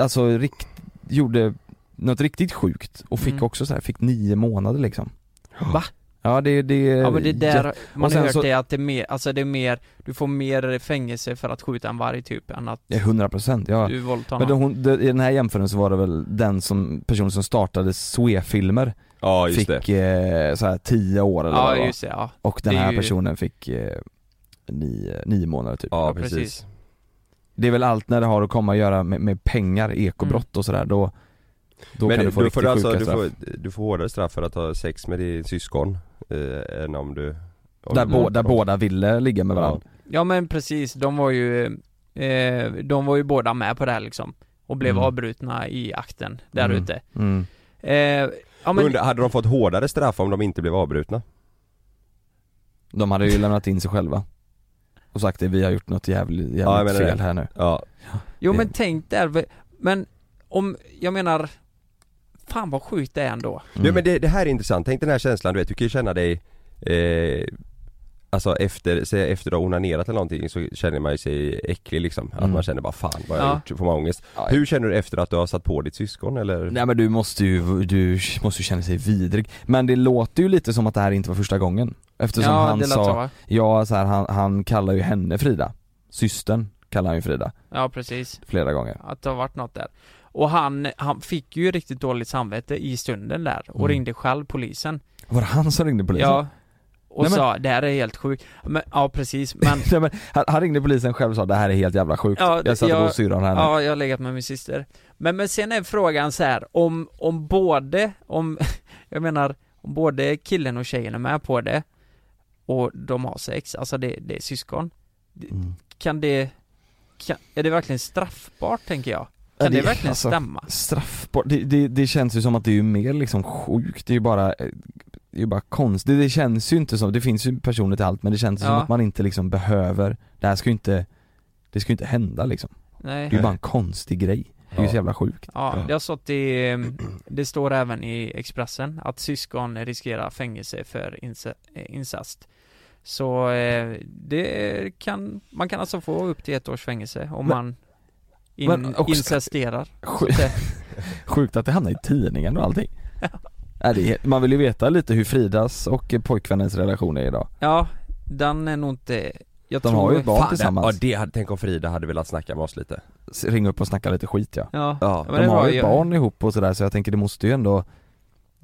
S1: alltså rikt, gjorde något riktigt sjukt och fick
S4: Mm.
S1: också så här, fick nio månader liksom
S4: Va?
S1: Ja det, det
S4: ja men det där, man har
S1: Eh, sen
S4: hört
S1: så-
S4: det att det är mer, alltså det är mer Du får mer fängelse för att skjuta en varg typ än att
S1: Ja, 100% ja
S4: du våldtar
S1: Men
S4: någon
S1: då hon, det, i den här jämförelsen var det väl den som, personen som startade Zoe-filmer
S2: ja just det
S1: fick eh, så här 10 år eller vad
S4: Ja
S1: det var.
S4: just det, ja
S1: Och den
S4: Det är
S1: här
S4: ju-
S1: personen fick eh, nio, nio månader typ
S2: Ja
S4: Ja,
S2: precis
S4: precis.
S1: Det är väl allt när det har att komma att göra med, med pengar, ekobrott och sådär då Då
S2: Mm. Men
S1: kan
S2: du
S1: du få
S2: får
S1: riktigt
S2: alltså,
S1: sjuka
S2: du
S1: straff
S2: får, du får hårdare straff för att ha sex med din syskon eh, än om du om
S1: Där,
S2: du-
S1: bå- där båda ville ligga med varandra.
S4: Ja men precis, de var ju eh, De var ju båda med på det här liksom Och blev
S1: Mm.
S4: avbrutna i akten där
S1: Mm.
S4: ute
S1: Mm.
S4: eh, Ja men,
S2: Undrar, hade de fått hårdare straff om de inte blev avbrutna?
S1: De hade ju lämnat in sig själva. Och sagt det, vi har gjort något jävligt, jävligt
S2: Ja, jag menar
S1: fel
S2: det.
S1: här nu.
S2: Ja,
S4: jo
S1: det-
S4: men tänk där Men om, jag menar Fan vad sjukt det är ändå
S1: Mm.
S2: Nej men det, det här är intressant, tänk den här känslan du vet, du kan ju känna dig eh, Alltså efter, säg efter du har onanerat eller någonting så känner man ju sig äcklig liksom, att
S1: Mm.
S2: man känner bara fan vad har
S4: Ja.
S2: jag gjort, får man ångest
S1: Ja.
S2: Hur känner du efter att du har satt på ditt syskon eller?
S1: Nej men du måste ju, du måste ju känna sig vidrig. Men det låter ju lite som att det här inte var första gången. Eftersom
S4: Ja
S1: han
S4: det lät så
S1: sa,
S4: va?
S1: ja så här, han, han kallar ju henne Frida. Systern kallar han ju Frida
S4: Ja precis,
S1: flera gånger.
S4: att det har varit något där Och han, han fick ju riktigt dåligt samvete i stunden där och
S1: Mm.
S4: ringde själv polisen
S1: Var det han som ringde polisen?
S4: Ja Och
S1: Nej, men-
S4: sa, det här är helt sjukt men, Ja
S1: <laughs>
S4: precis, men
S1: Nej, men han, han ringde polisen själv och sa det här är helt jävla sjukt.
S4: Ja, det-
S1: jag satt
S4: jag-
S1: och syrran här nu.
S4: Ja, jag har legat med min syster. Men, men sen är frågan så här, om, om både, om, <laughs> jag menar, om både killen och tjejen är med på det och de har sex, alltså det, det är syskon.
S1: Mm.
S4: Kan det, kan, är det verkligen straffbart tänker jag?
S1: Ja,
S4: Kan det,
S1: det-
S4: verkligen
S1: alltså-
S4: stämma?
S1: Straffbart, det, det, det känns ju som att det är ju mer liksom sjukt, det är ju bara, eh, det är ju bara konstigt, det känns ju inte som, det finns ju personer till allt men det känns som
S4: Ja.
S1: att man inte liksom behöver, det här ska ju inte, det ska ju inte hända liksom. Det är
S4: Nej.
S1: ju bara en konstig grej, det är ju så jävla sjukt.
S4: Ja, det har stått i, eh, det står även i Expressen att syskon riskerar fängelse för inse- eh, incest. Så eh, det kan, man kan alltså få upp till ett års fängelse om
S1: Men-
S4: man in,
S1: men också-
S4: incesterar.
S1: Sjukt, sjukt att det hamnar i tidningen och allting. Nej, det är, man vill ju veta lite hur Fridas och pojkvännens relation är idag.
S4: Ja, den är nog inte, jag
S1: De
S4: tror
S1: har ju ett barn
S2: Fan,
S1: tillsammans.
S2: Det, ja, det hade, tänk om Frida hade velat snacka med oss lite
S1: S- Ring upp och snacka lite skit ja.
S4: Ja,
S2: Ja,
S4: men
S1: De
S4: det
S1: har
S4: var
S1: ju
S4: ju-
S1: barn ihop och sådär så jag tänker det måste ju ändå,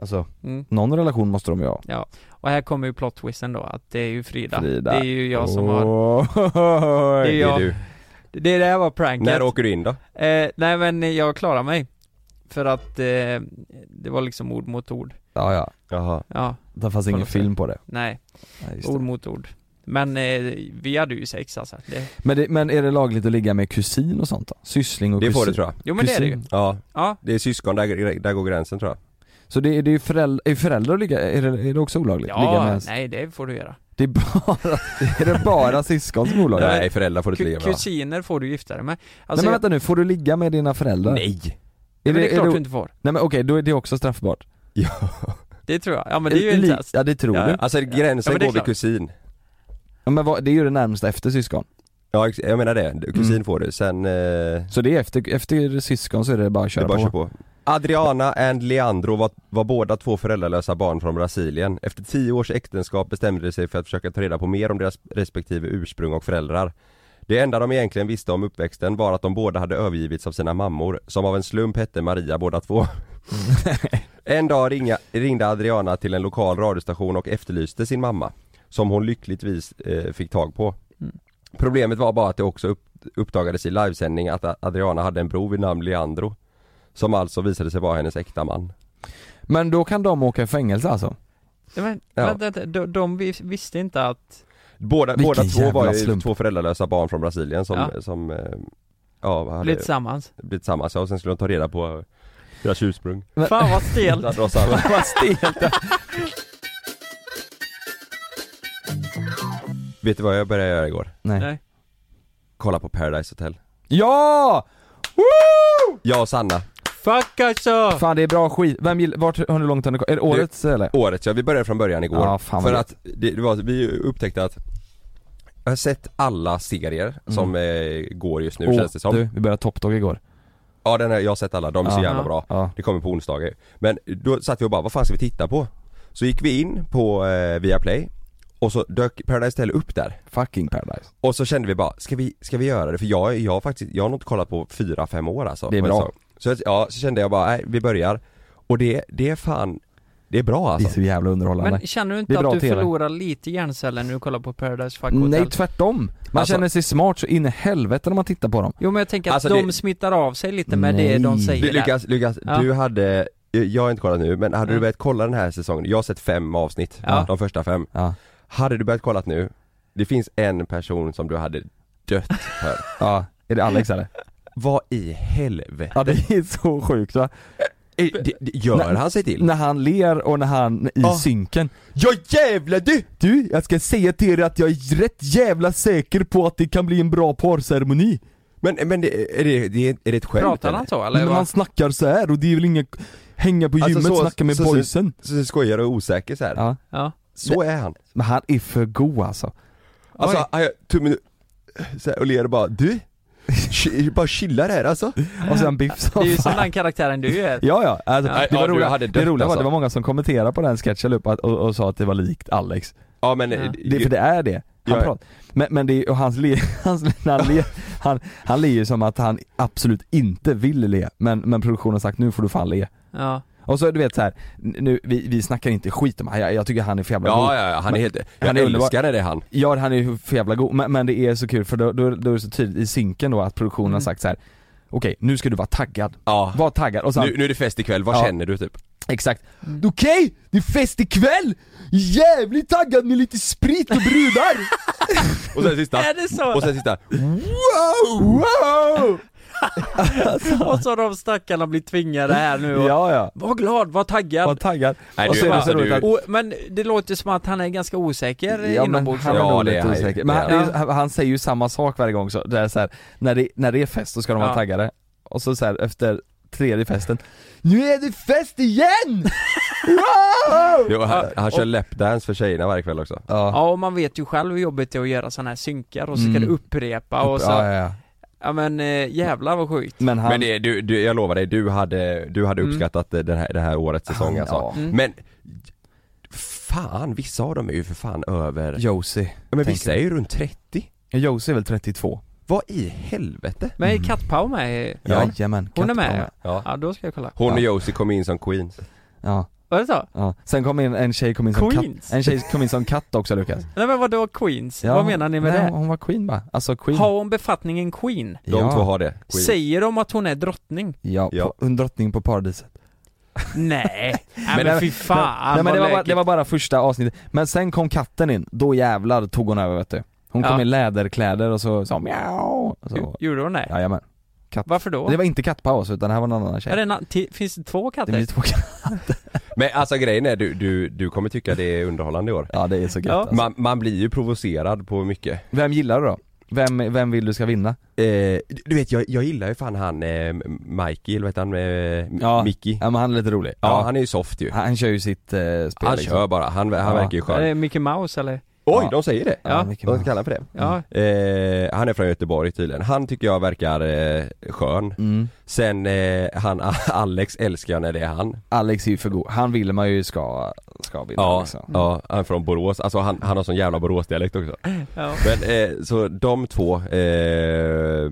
S1: alltså
S4: Mm.
S1: någon relation måste de ju ha.
S4: Och här kommer ju plot twisten då, att det är ju Frida.
S1: Frida.
S4: Det är ju jag som har,
S1: har...
S4: det är jag,
S2: du.
S4: det är det här var pranket.
S2: När åker du in då?
S4: Eh, nej men jag klarar mig. För att eh, det var liksom ord mot ord.
S1: Ja, ja.
S2: Jaha
S4: Ja,
S1: Det fanns
S4: På
S1: ingen
S4: något sätt.
S1: film på det.
S4: nej,
S1: Nej, just
S4: ord
S1: det.
S4: mot ord. Men eh, vi hade ju sex alltså. Det,
S1: Men, det, men är det lagligt att ligga med kusin och sånt då? Syssling och
S2: Det
S1: kusin?
S2: får du tror jag
S4: jo men det är det ju.
S1: Kusin.
S2: Ja,
S4: Ja,
S2: det är syskon, där, där går gränsen tror jag
S1: Så det, är- det är ju föräldrar, är föräldrar att ligga, är det, är det också olagligt? ligga
S4: ja
S1: med,
S4: nej det får du göra.
S1: Det är bara, är det bara syskon som är olagligt?
S2: Nej föräldrar får du inte
S4: Ku-
S2: ligga med
S4: kusiner får du gifta dig med.
S1: Nej
S4: Alltså,
S1: men
S4: jag-
S1: vänta nu, får du ligga med dina föräldrar?
S2: Nej!
S1: Är
S4: men det,
S1: det,
S4: är klart
S1: är
S4: du
S1: det,
S4: inte får.
S1: nej men okej, då är det också straffbart.
S2: Ja.
S4: Det tror jag. Ja men det är ju
S1: Li-
S4: en test.
S1: Ja det tror
S4: Ja,
S1: du.
S4: ja.
S2: Alltså gränsen
S4: men det är
S2: går vid
S4: klart.
S2: kusin
S1: Ja, men vad, det är ju det närmsta efter syskon.
S2: Ja ex- jag menar det, kusin
S1: Mm.
S2: får du, sen... Eh, det
S1: Så det är efter, efter syskon så är det bara att
S2: är
S1: köra
S2: bara
S1: på.
S2: att köra på Adriana and Leandro var, var båda två föräldralösa barn från Brasilien. Efter tio års äktenskap bestämde de sig för att försöka ta reda på mer om deras respektive ursprung och föräldrar. Det enda de egentligen visste om uppväxten var att de båda hade övergivits av sina mammor, som av en slump hette Maria båda två. Mm. <laughs> en dag ringa, ringde Adriana till en lokal radiostation och efterlyste sin mamma, som hon lyckligtvis eh, fick tag på. Problemet var bara att det också upp, uppdagades i livesändning att Adriana hade en bror vid namn Leandro. Som alltså visade sig vara hennes äkta man.
S1: Men då kan de åka i fängelse alltså?
S4: Nej, men,
S2: Ja.
S4: vänta, vänta, de, de vis- visste inte att,
S2: Båda,
S1: Vilken
S2: båda två var
S1: jävla
S2: ju
S1: slump.
S2: två föräldralösa barn från Brasilien som,
S4: Ja.
S2: som eh, ja, hade
S4: bli
S2: blivit,
S4: tillsammans.
S2: samma och sen skulle de ta reda på eh, deras ursprung.
S1: Men-
S4: Fan vad
S1: <laughs>
S4: stelt.
S2: Där dras alla.
S1: Vad stelt.
S2: Vet du vad jag började göra igår?
S1: Nej.
S4: Nej.
S2: Kolla på Paradise Hotel.
S1: Ja!
S2: Jag och Sanna,
S4: Fuck alltså!
S1: Fan det är bra skit. Vem gillar, vart, hur långt har ni Är det årets eller?
S2: året ja, vi började från början igår.
S1: Ja, fan vad
S2: för
S1: gött.
S2: att det, det var, vi upptäckte att jag har sett alla serier som eh, går just nu
S1: Mm. Åh,
S2: känns det som.
S1: Du, vi började topptåg igår.
S2: Ja den här, jag har sett alla, de är så
S1: Ja.
S2: jävla bra.
S1: Ja.
S2: Det kommer på onsdagar. Men då satt vi och bara, vad fan ska vi titta på? Så gick vi in på eh, Viaplay och så dök Paradise Hotel upp där.
S1: Fucking Paradise.
S2: Och så kände vi bara, ska vi, ska vi göra det? För jag, jag har faktiskt, jag har nog inte kollat på 4-5 år alltså.
S1: Det är bra.
S2: Så, jag- ja, så kände jag bara, nej vi börjar. Och det, det är fan, det är bra
S1: Det är
S2: alltså.
S1: så jävla underhållande.
S4: Men känner du
S1: Det är
S4: inte
S1: bra
S4: att du
S1: TV.
S4: förlorar lite hjärnceller när du kollar på Paradise Fuck Hotel?
S1: Nej tvärtom! Man
S2: Alltså-
S1: känner sig smart så in i helvete när man tittar på dem.
S4: Jo men jag tänker att
S2: Alltså,
S4: de
S2: det-
S4: smittar av sig lite med
S1: Nej.
S4: det de
S1: Du,
S4: säger
S2: Du,
S4: där.
S2: Lukas, Lukas
S4: Ja.
S2: du hade, det- jag har inte kollat nu, men hade du
S4: Mm.
S2: börjat kolla den här säsongen, jag har sett fem avsnitt,
S4: Ja.
S2: de första fem
S1: Ja.
S2: Hade du börjat kolla nu, det finns en person som du hade dött för
S1: ja, är det Alex eller?
S2: Vad i helvete
S1: Ja det är så sjukt va?
S2: Eh, det, det, gör
S1: Nej.
S2: han sig till?
S1: När han ler och när han i
S2: Ja.
S1: synken
S2: Ja jävlar du!
S1: Du, jag ska säga till er att jag är rätt jävla säker på att det kan bli en bra parceremoni
S2: Men, eh, men det, är, det, det, är det ett skämt
S4: Pratar
S2: eller?
S4: han så eller?
S1: Men han
S4: vad?
S1: snackar så här och det är väl inga Hänga på
S2: Alltså,
S1: gymmet,
S2: så-
S1: snacka med
S2: så- så-
S1: boysen
S2: Så skojar och osäker så här.
S1: Ja,
S4: Ja.
S2: så är han
S1: men han är för god alltså
S2: Alltså, han gör tummen ur- så här, och ler och bara du? Chi- <laughs> Bara chilla det här alltså
S1: Och sen biff <laughs> som
S4: Det är ju som
S1: fan.
S4: den karaktären du är.
S1: Ja ja, alltså,
S4: Ja.
S1: det
S2: Ja,
S1: var
S2: du
S1: roliga,
S2: hade
S1: det
S2: dött,
S1: roliga var att
S2: alltså.
S1: det var många som kommenterade på den sketchen upp att, och, och sa att det var likt Alex
S2: Ja men, eh,
S4: Ja.
S1: det, För det är det, han
S2: Ja.
S1: pratar Men, men det är, och hans le, <laughs> hans, när han, le, han, han ler ju som att han absolut inte vill le Men, men produktionen har sagt nu får du fan le
S4: Ja.
S1: Och så du vet så här, nu, vi, vi snackar inte skit om han, jag, jag tycker han är för jävla
S2: Ja,
S1: god
S2: ja, ja, han är
S1: Men-
S2: <laughs> helt, jag
S1: han är
S2: älskar
S1: underbar.
S2: när det är han
S1: Ja han är ju för jävla god, men, men det är så kul för då, då, då är det så tydligt i synken då att produktionen har
S4: Mm.
S1: sagt så här. Okej, nu ska du vara taggad.
S2: Ja,
S1: Var taggad och sen,
S2: nu, nu är det fest ikväll, vad
S1: Ja.
S2: känner du typ?
S1: exakt Okej, det är fest ikväll! Jävligt taggad med lite sprit och
S2: <laughs>
S1: brudar!
S2: Och sen <laughs> sista,
S4: Är det så?
S2: och sen sista
S1: wow! Wow!
S4: Och så har de stackarna blivit tvingade här nu och...
S1: Ja ja,
S4: Var glad, var taggad.
S1: var taggad.
S2: Nej,
S1: och
S2: du-
S1: så är det
S2: alltså,
S1: så roligt
S2: du-
S1: att
S4: Och, men det låter som att han är ganska osäker
S1: Ja, men
S4: inombords.
S1: han är
S2: Ja,
S1: nog
S2: det är
S1: lite
S2: han ju.
S1: osäker. Men han,
S4: Ja.
S1: det är- han, han säger ju samma sak varje gång så, det är så här, när, det, när det är fest så ska de vara
S4: Ja.
S1: taggade Och så, så här, efter tredje festen Nu är det fest <laughs> igen! wow!
S2: Jo, han, han kör
S4: och-
S2: lapdance för tjejerna varje kväll också
S1: Ja,
S4: Ja och man vet ju själv hur jobbigt det är att göra sådana här synkar och så ska
S1: Mm.
S4: du upprepa och så,
S1: ja,
S4: ja,
S1: ja, ja.
S4: men eh, jävlar vad sjukt.
S1: Men han,
S2: Men det, du, du, jag lovar dig, du hade, du hade
S4: Mm.
S2: uppskattat det- den här, det här årets säsong
S1: Han-
S2: alltså
S1: ja.
S4: Mm.
S2: Men Fan, vissa av dem är ju för fan över
S1: Josie
S2: Men
S1: tänker
S2: vissa är ju runt 30
S1: Josie är väl 32?
S2: Vad i helvete?
S4: Men är
S1: Mm.
S4: Kattpau med? i-
S2: Ja.
S1: Jajamän,
S4: Hon är
S1: kattpau
S4: med?
S2: Ja.
S4: Ja, då ska jag kolla.
S2: Hon och
S1: Ja.
S2: Josie kom in som queens
S1: Ja,
S4: Var det så?
S1: ja. Sen kom in en tjej kom in som
S4: Queens.
S1: katt, en tjej kom in som katt också Lukas
S4: Nej men vadå Queens?
S1: Ja,
S4: <laughs> vad menar ni med
S1: nej,
S4: det?
S1: Hon var queen va? Alltså queen
S4: Har hon befattningen Queen?
S2: De
S1: ja.
S2: två har det, queens
S4: Säger de att hon är drottning?
S1: Ja,
S2: Ja.
S1: ja. På, en drottning på paradiset
S4: Nej,
S1: <laughs>
S4: nej men,
S1: nej,
S4: fy fan
S1: Nej men
S4: vad
S1: det var, bara,
S4: läckert.
S1: det var bara första avsnittet, men sen kom katten in, då jävlar tog hon över vet du Hon kom
S4: Ja.
S1: i läderkläder och så sa hon mjau, och så,
S4: Gjorde hon det?
S1: jajamän
S4: Varför då?
S1: Det var inte kattpaus utan det här var en annan
S4: är
S1: tjej
S4: det na- ti- finns det två
S1: Det
S4: katter?
S1: blir två katter,
S2: Men alltså grejen är, du, du, du kommer tycka det är underhållande i år
S1: ja det är så gött
S4: Ja.
S1: alltså.
S2: man, man blir ju provocerad på mycket
S1: Vem gillar du då? Vem, vem vill du ska vinna?
S2: Eh, du vet jag, jag gillar ju fan han eh, Mikey, eller vad heter han? Eh,
S1: Ja.
S2: Mickey ja,
S1: Ja men han är lite rolig,
S2: han är ju soft ju
S1: han, han kör ju sitt eh, spel
S2: Han
S1: liksom.
S2: kör bara, han, han
S1: Ja.
S2: verkar ju
S4: Är
S2: skön
S4: det Eh, Mickey Mouse eller?
S2: Oj,
S1: Ja.
S2: de säger det!
S1: ja,
S4: Ja.
S1: mycket
S2: De
S1: bra.
S2: kallar han för det
S1: Mm.
S4: Ja,
S2: eh, Han är från Göteborg tydligen, han tycker jag verkar eh, skön
S1: Mm.
S2: Sen eh, han, <laughs> Alex älskar jag när det är han
S1: Alex är ju för god, han vill man ju ska, ska vinna
S2: Ja,
S1: liksom.
S2: ja, han är från Borås, alltså han, han har sån jävla Boråsdialekt också
S4: ja.
S2: Men eh, så de två, eh,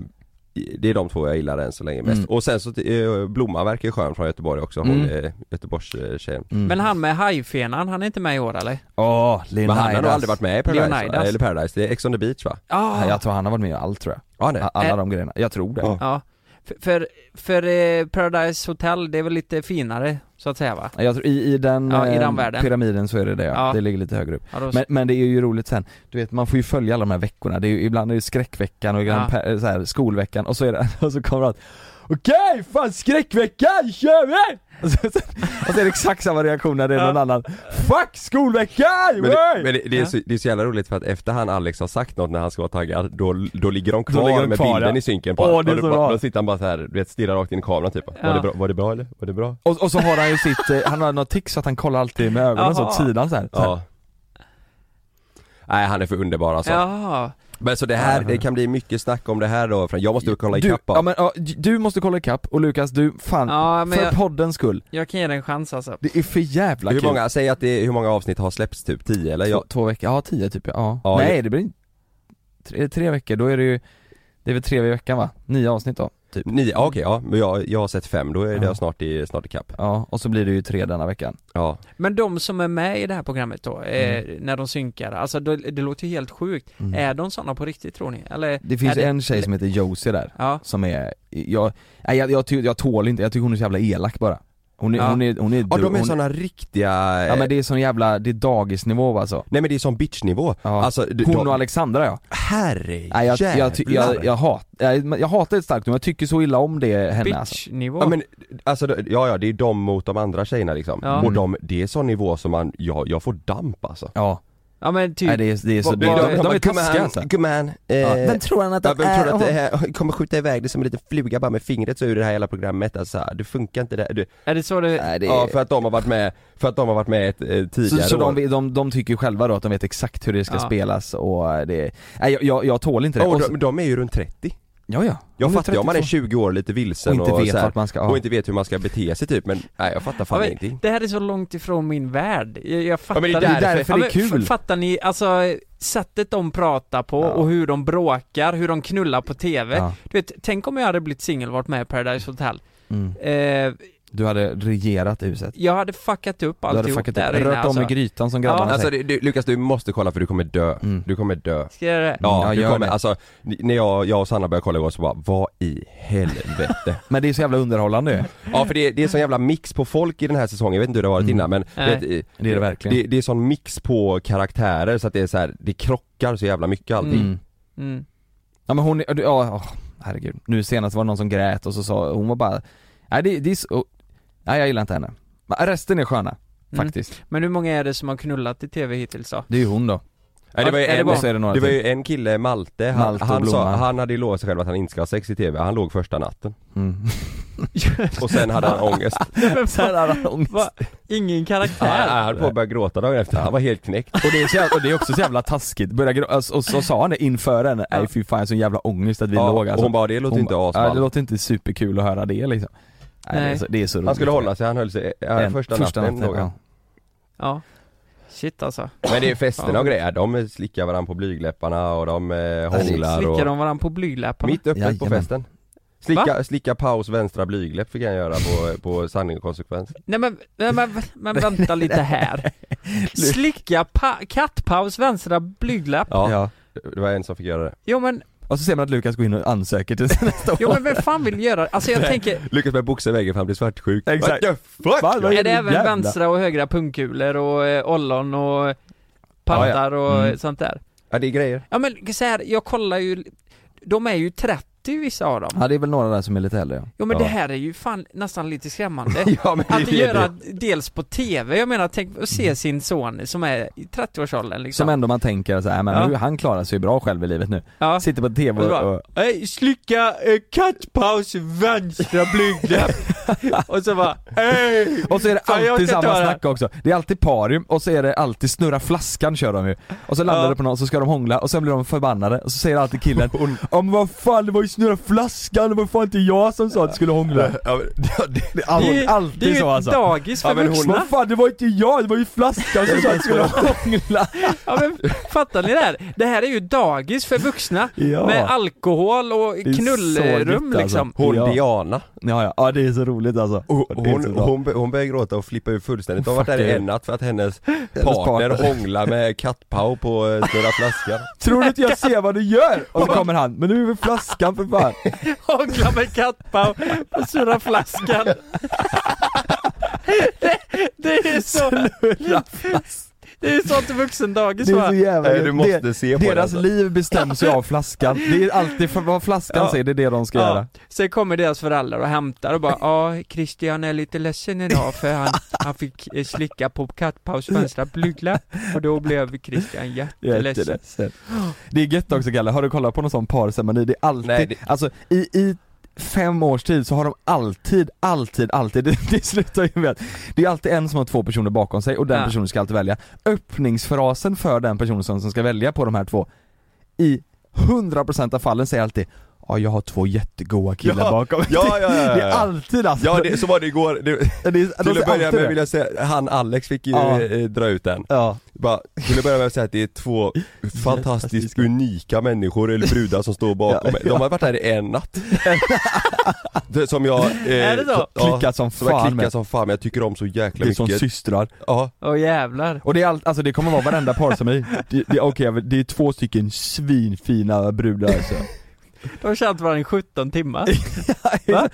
S2: det är de två jag gillar än så länge mest.
S1: Mm.
S2: Och sen så eh, Blomman verkar ju skön från Göteborg också, hon
S1: Mm.
S2: eh, Göteborgstjejen.
S1: Mm.
S4: Men han med hajfenan, han är inte med i år eller?
S1: Åh,
S2: Men han har nog
S1: Leonidas.
S2: aldrig varit med i Paradise, va?
S4: Leonidas.
S2: eller Paradise, det är Ex on the beach va?
S4: Ah,
S1: Nej, Jag tror han har varit med i allt tror jag,
S2: Ja han är.
S1: A- alla
S4: Ä-
S1: de grejerna, jag tror det
S2: Ja.
S4: Ja, för, för, för eh, Paradise Hotel, det är väl lite finare så att säga va?
S1: Ja, Jag tror, i, i, den,
S4: Ja, i
S1: eh,
S4: den världen.
S1: pyramiden så är det det ja.
S4: Ja.
S1: det ligger lite högre upp.
S4: Ja, då,
S1: Men, men det är ju roligt sen, du vet man får ju följa alla de här veckorna, det är ju, ibland är det skräckveckan och ibland
S4: Ja.
S1: pe- eh, så här, skolveckan och så är det, <laughs> och så kommer han Okej, fan skräckveckan, kör vi! Och så, så, och så är det exakt samma reaktion när det är någon annan Fuck skolveckan!
S2: Men, det,
S1: wey!"
S2: men det, det, är
S4: Ja.
S2: så, det är så jävla roligt för att efter han Alex har sagt något när han ska vara taggad, då, då ligger de
S1: Då
S2: kvar
S1: ligger de
S2: med
S1: kvar,
S2: bilden
S1: ja.
S2: i synken på
S1: Åh,
S2: honom.
S1: det är
S2: Och
S1: så
S2: då,
S1: bra.
S2: då sitter han bara så här, du vet stirrar rakt in i kameran typ.
S4: Ja.
S2: Var, det bra, var det bra eller? Var det bra?
S1: och, och så har han ju sitt, eh, han har något tics så att han kollar alltid med ögonen så åt
S4: Jaha.
S1: sidan så här. Så här.
S2: Ja. Nej han är för underbar alltså.
S4: Jaha,
S2: Men så det här, det kan bli mycket snack om det här då, för jag måste kolla
S1: du,
S2: ikapp
S1: ja, men, ja, du måste kolla ikapp och Lukas du, fan,
S4: ja men
S1: för
S4: jag,
S1: poddens skull,
S4: jag kan ge den en chans alltså.
S1: det är för jävla
S2: Hur
S1: kul
S2: många, säg att det är, hur många avsnitt har släppts typ? 10 eller?
S1: Två,
S2: Jag,
S1: två veckor, ja tio typ ja.
S2: Ja,
S1: Nej det blir inte, tre, tre veckor, då är det ju, det är väl tre i veckan va? Nio avsnitt då, typ.
S2: nio, ja, okej ja, men jag, jag har sett fem, då är det
S1: Ja.
S2: snart i, snart i kapp.
S1: Ja, och så blir det ju tre denna veckan.
S2: Ja.
S4: Men de som är med i det här programmet då, eh,
S1: Mm.
S4: när de synkar, alltså då, det låter ju helt sjukt. Är de sådana på riktigt tror ni? Eller?
S1: Det finns
S4: är
S1: en tjej som heter Josie där,
S4: Ja,
S1: som är, jag, nej, jag, jag, ty, jag tål inte, jag tycker hon är så jävla elak bara. Hon är,
S2: Ja.
S1: hon är, hon är,
S2: Ja de är
S1: hon,
S2: såna riktiga... eh,
S1: Ja men det är sån jävla, det är dagisnivå alltså
S2: Nej men det är som bitchnivå.
S1: Ja.
S2: Alltså, d-
S1: Hon
S2: de-
S1: och Alexandra ja.
S2: Herre
S1: Nej, jag, jag, ty- jag,
S2: jävlar.
S1: jag, hat, jag, men jag hatar ett starkt men jag tycker så illa om det henne alltså.
S4: Bitchnivå.
S2: Ja men alltså, d- ja ja det är de mot de andra tjejerna liksom.
S4: Ja.
S1: Mm.
S2: Och de, det är sån nivå som man, jag, jag får damp alltså.
S1: Ja,
S4: typ.
S1: nej, det är, det är så,
S4: Vad-
S1: de,
S4: vad-
S1: de, de är
S2: bara, "Come
S1: taskiga
S2: on,
S1: alltså.
S2: come on, eh,
S1: Ja. Vem
S2: tror han att
S1: han
S2: vem
S1: är?
S2: tror att det här <laughs> kommer skjuta iväg det som en liten fluga bara med fingret så ur det här hela programmet alltså, det funkar inte det, du,
S4: Är det så det...
S1: Nej, det är,
S2: Ja för att de har varit med, för att de har varit med ett, eh,
S1: så,
S2: tidigare
S1: så
S2: år.
S1: de, de, de tycker ju själva då att de vet exakt hur det ska
S4: Ja.
S1: spelas och det, nej jag, jag, jag tål inte det.
S2: Ja, och
S1: Och så,
S2: Oh, de, de är ju runt 30
S1: ja ja.
S2: Jag
S1: Hon
S2: fattar ju om man är
S1: 32.
S2: 20 år lite vilsen
S1: och inte vet
S2: så här,
S1: vart man ska, ja.
S2: och inte vet hur man ska bete sig typ men nej jag fattar fan
S4: Ja, men
S2: ingenting
S4: det här är så långt ifrån min värld. Jag, jag fattar
S2: men det är
S1: Det är
S2: därför-
S1: därför
S4: Ja,
S1: det
S4: men
S1: är kul.
S4: f- Fattar ni, alltså sättet de pratar på
S1: Ja.
S4: och hur de bråkar, hur de knullar på TV.
S1: Ja.
S4: Du vet, tänk om jag hade blivit singel och varit med i Paradise Hotel.
S1: Mm.
S4: Eh,
S1: Du hade regerat huset.
S4: jag hade fuckat upp
S1: Du hade
S4: alltihop
S1: fuckat upp,
S4: där inne
S1: rört om
S4: alltså.
S1: i grytan som grabbarna
S4: Ja,
S2: Alltså
S1: säger.
S2: det, du, Lukas du måste kolla för du kommer dö,
S1: Mm.
S2: du kommer dö
S4: Ska jag göra det?
S2: Ja,
S1: Ja,
S2: du
S1: gör
S2: kommer,
S1: det.
S2: alltså, n- när jag, jag och Sanna började kolla igår så bara, vad i helvete?
S1: <laughs> Men det är så jävla underhållande ju.
S2: ja för det, det är sån jävla mix på folk i den här säsongen, jag vet inte hur det har varit
S1: Mm.
S2: innan men
S4: Nej.
S2: vet, i-
S1: Det är det verkligen.
S2: Det, det är sån mix på karaktärer så att det är så här, det krockar så jävla mycket allting
S4: Mm.
S1: Mm.
S4: Mm.
S1: Ja men hon, är- ja, åh, herregud. Nu senast var det någon som grät och så sa, hon var bara, nej det, det är så, nej jag gillar inte henne. Men resten är sköna,
S4: Mm.
S1: faktiskt.
S4: Men hur många är det som har knullat i TV hittills då?
S1: Det
S4: <laughs>
S1: är ju hon då.
S2: Nej, det var ju
S4: Är det
S2: en,
S4: bara-
S1: Och så är det några
S2: Det var
S1: till.
S2: ju en kille, Malte, han,
S1: Malte och
S2: han, sa,
S1: Blomman.
S2: han hade ju lovat sig själv att han inte ska ha sex i TV, han låg första natten
S1: Mm.
S2: <laughs> Och sen
S1: <laughs>
S2: hade han ångest,
S1: Sen <laughs> hade han ångest.
S4: Va? Ingen
S2: han,
S4: karaktär?
S2: han höll på att börja gråta dagen efter, han var helt knäckt
S1: Och det, är så jävla, och det är också så jävla taskigt, Börja grå- alltså, och så sa han det inför henne, nej fy fan sån jävla ångest att vi
S2: ja,
S1: låg
S2: och
S1: alltså.
S2: hon bara, det låter
S1: Hon
S2: inte
S1: bara, ja, Det
S2: asballt
S1: låter inte superkul att höra det liksom. Nej, Det, är
S4: Nej.
S1: så, det är så roligt.
S2: Han skulle hålla sig, han höll sig, eh, ja,
S1: En-
S2: första, natten, låg han.
S1: ja.
S4: Ja. Shit alltså.
S2: Men det är festerna och
S4: Ja.
S2: grejer, de slickar varandra på blygläpparna och de eh,
S1: det är-
S2: hånglar och
S4: Slickar de varandra på blyglapparna?
S2: Mitt uppe på
S1: Jajamän.
S2: festen Slicka, slicka paus vänstra blygläpp fick han göra på, eh, på sanning och konsekvens
S4: Nej men, nej, men, men vänta lite här. Slicka pa- kattpaus vänstra blygdlapp.
S2: Ja,
S1: Ja.
S2: det var en som fick göra det
S4: Jo men,
S1: Och så ser man att Lukas går in och ansöker till
S2: <laughs>
S1: nästa år.
S4: jo men vem fan vill göra Alltså jag tänker,
S2: Lyckas med boxa i väggen för han blir svartsjuk
S1: Exakt.
S2: What the fuck?
S1: Va? Vad
S4: är det även
S1: Jävlar.
S4: vänstra och högra pungkulor och eh, ollon och pattar och
S1: Mm.
S4: sånt där?
S2: Ja det är grejer
S4: Ja men så här, jag kollar ju, de är ju 30 vissa av dem.
S1: Ja det är väl några där som är lite äldre ja.
S4: Jo men det
S2: Ja.
S4: här är ju fan nästan lite skrämmande.
S2: <laughs> Ja men
S4: Att
S2: är
S4: göra dels på TV, jag menar tänk att se sin son som är i 30-årsåldern liksom.
S1: Som ändå man tänker så här, men
S4: Ja.
S1: nu, han klarar sig ju bra själv i livet nu.
S4: ja.
S1: Sitter på tv
S4: Och så
S1: och,
S4: bara,
S1: och
S4: Nej, slicka eh, kattpaus vänstra
S1: <laughs>
S4: blygdläpp. och så bara, hej!
S1: Och så är det
S4: Fan, jag
S1: alltid
S4: orkar inte
S1: samma
S4: höra.
S1: snack också. Det är alltid parium och så är det alltid snurra flaskan kör de ju. Och så landar
S4: Ja.
S1: det på någon så ska de hångla och sen blir de förbannade och så säger alltid killen Ja men vad fan det var ju snurra flaskan, det var fan inte jag som sa att du skulle hångla.
S2: Ja, men, ja, det, det,
S1: All,
S4: Det är,
S1: alltid
S4: det är ju
S1: så
S4: ett
S1: alltså.
S4: dagis för
S2: Ja, men hon-
S4: vuxna.
S1: Vad fan det var inte jag, det var ju flaskan som sa att du skulle hångla.
S4: Ja, men, fattar ni det här? Det här är ju dagis för vuxna.
S1: Ja.
S4: Med alkohol och
S1: är så
S4: knullrum
S1: gött, alltså.
S4: liksom.
S2: hon
S1: Ja.
S2: Diana
S1: Ja, ja, ja det är så roligt alltså.
S2: Hon,
S1: Det är
S2: hon,
S1: så bra.
S2: hon, bör- hon började gråta och flippa ur fullständigt. De har varit
S1: Fuck
S2: där i
S1: yeah.
S2: en natt för att hennes
S1: partner.
S2: partner hånglar med kattpaw på eh, Snurra flaskan.
S1: Tror du inte jag ser vad du gör? Och så kommer han, men nu är väl flaskan för fan.
S4: Hångla med kattpaus och surra flaskan.
S1: <laughs>
S4: det, det är så... Det är sånt vuxendagis
S1: Det är så
S4: va?
S1: jävla
S2: Nej, du måste
S1: Alltså, det,
S2: se på det,
S1: Deras
S2: alltså.
S1: liv bestäms ju av flaskan. Det är alltid för vad flaskan
S4: Ja.
S1: säger, det är det de ska
S4: Ja.
S1: göra.
S4: Sen kommer deras föräldrar och hämtar och bara ja, Christian är lite ledsen idag för han, han fick eh, slicka på kattpaus vänstra blygdläpp och då blev Christian jätteledsen.
S1: Jätteledsen. Det är gött också Galle, har du kollat på någon sån parceremoni? Det är alltid,
S2: Nej, det-
S1: alltså i, i fem års tid så har de alltid, alltid, alltid, det, det slutar ju med att det är alltid en som har två personer bakom sig och den
S4: Ja.
S1: personen ska alltid välja. Öppningsfrasen för den personen som, som ska välja på de här två, i 100% av fallen säger alltid Ja jag har två jättegoda killar
S2: Ja,
S1: bakom mig.
S2: ja, ja, ja,
S1: Det är
S2: ja.
S1: alltid alltså.
S2: Ja det, så var det igår. Det,
S1: det är, de
S2: till
S1: säger
S2: att börja
S1: alltid
S2: med
S1: det.
S2: vill jag säga, han Alex fick ju
S1: Ja.
S2: eh, dra ut den.
S1: Ja.
S2: Bara, till att börja med att säga att det är två fantastiskt unika människor eller brudar som står bakom mig. De har varit här i
S1: <laughs>
S2: en natt. Det Som jag... Eh,
S4: Är det så?
S2: Ja,
S1: Klickat som
S2: som jag
S1: fan
S2: klickar
S1: med.
S2: som fan men jag tycker om så jäkla
S1: Det är som
S2: mycket.
S1: systrar.
S2: ja.
S4: Åh jävlar.
S1: Och det är allt, alltså det kommer vara
S4: <laughs>
S1: varenda par som är, det, det, okej, det är två stycken svinfina brudar alltså.
S4: De har känt varandra i 17 timmar. Va?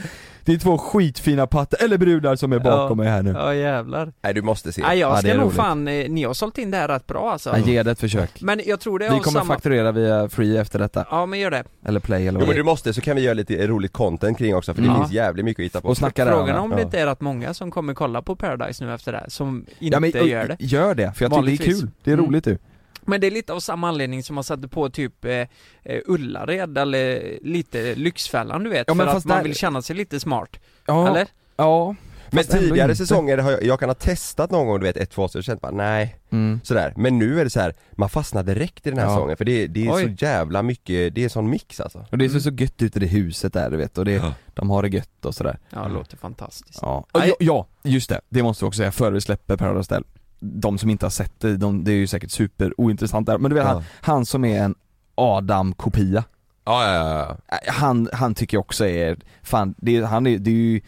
S1: Det är två skitfina patter, eller brudar som är bakom
S4: Ja.
S1: mig här nu.
S4: Ja jävlar.
S2: Nej du måste se.
S4: Nej
S1: Ja,
S4: jag
S1: det
S4: ska
S1: är
S4: nog
S1: roligt.
S4: fan, eh, ni har sålt in det här rätt bra alltså.
S1: Ja, ge det ett försök.
S4: Men jag tror det
S1: Vi
S4: har
S1: kommer
S4: samma...
S1: fakturera via free efter detta,
S4: Ja men gör det.
S1: eller play eller
S2: Jo
S1: vad
S2: men
S1: det
S2: du
S1: är.
S2: måste så kan vi göra lite roligt content kring också för det
S1: Ja.
S2: finns jävligt mycket att hitta på.
S1: Mm. Och snacka där.
S4: Frågan är
S1: Anna.
S4: om det inte är rätt många som kommer kolla på Paradise nu efter det här, som inte
S1: Ja, men, och-
S4: gör det.
S1: Gör det, för jag tycker det är
S4: Vanligtvis.
S1: kul. Det är
S4: Mm.
S1: roligt du.
S4: Men det är lite av samma anledning som man satte på typ eh, eh, Ullared eller lite Lyxfällan du vet,
S1: Ja, men
S4: för att
S1: fast
S4: man
S1: där-
S4: vill känna sig lite smart.
S1: Ja,
S4: Eller?
S1: ja.
S2: Men
S1: ändå
S2: tidigare
S1: inte.
S2: säsonger har jag, jag kan ha testat någon gång du vet ett, två avsnitt och känt bara nej,
S1: Mm.
S2: sådär. Men nu är det så här, man fastnar direkt i den här
S1: Ja.
S2: säsongen för det, det är
S4: Oj.
S2: så jävla mycket, det är en sån mix alltså.
S1: Och det ser
S4: Mm.
S1: så gött ut i det huset där du vet, och det,
S2: Ja.
S1: de har det gött och sådär.
S4: Ja, det
S2: Mm.
S4: låter fantastiskt.
S1: Ja, Och ja, ja just det. Det måste vi också säga före vi släpper Paradise Hotel. De som inte har sett det, de, det är ju säkert super ointressant där. Men du vet han,
S2: Ja
S1: han som är en Adam-kopia.
S2: ja ja, ja.
S1: Äh, Han, han tycker jag också är, fan, det, är- han är, det är ju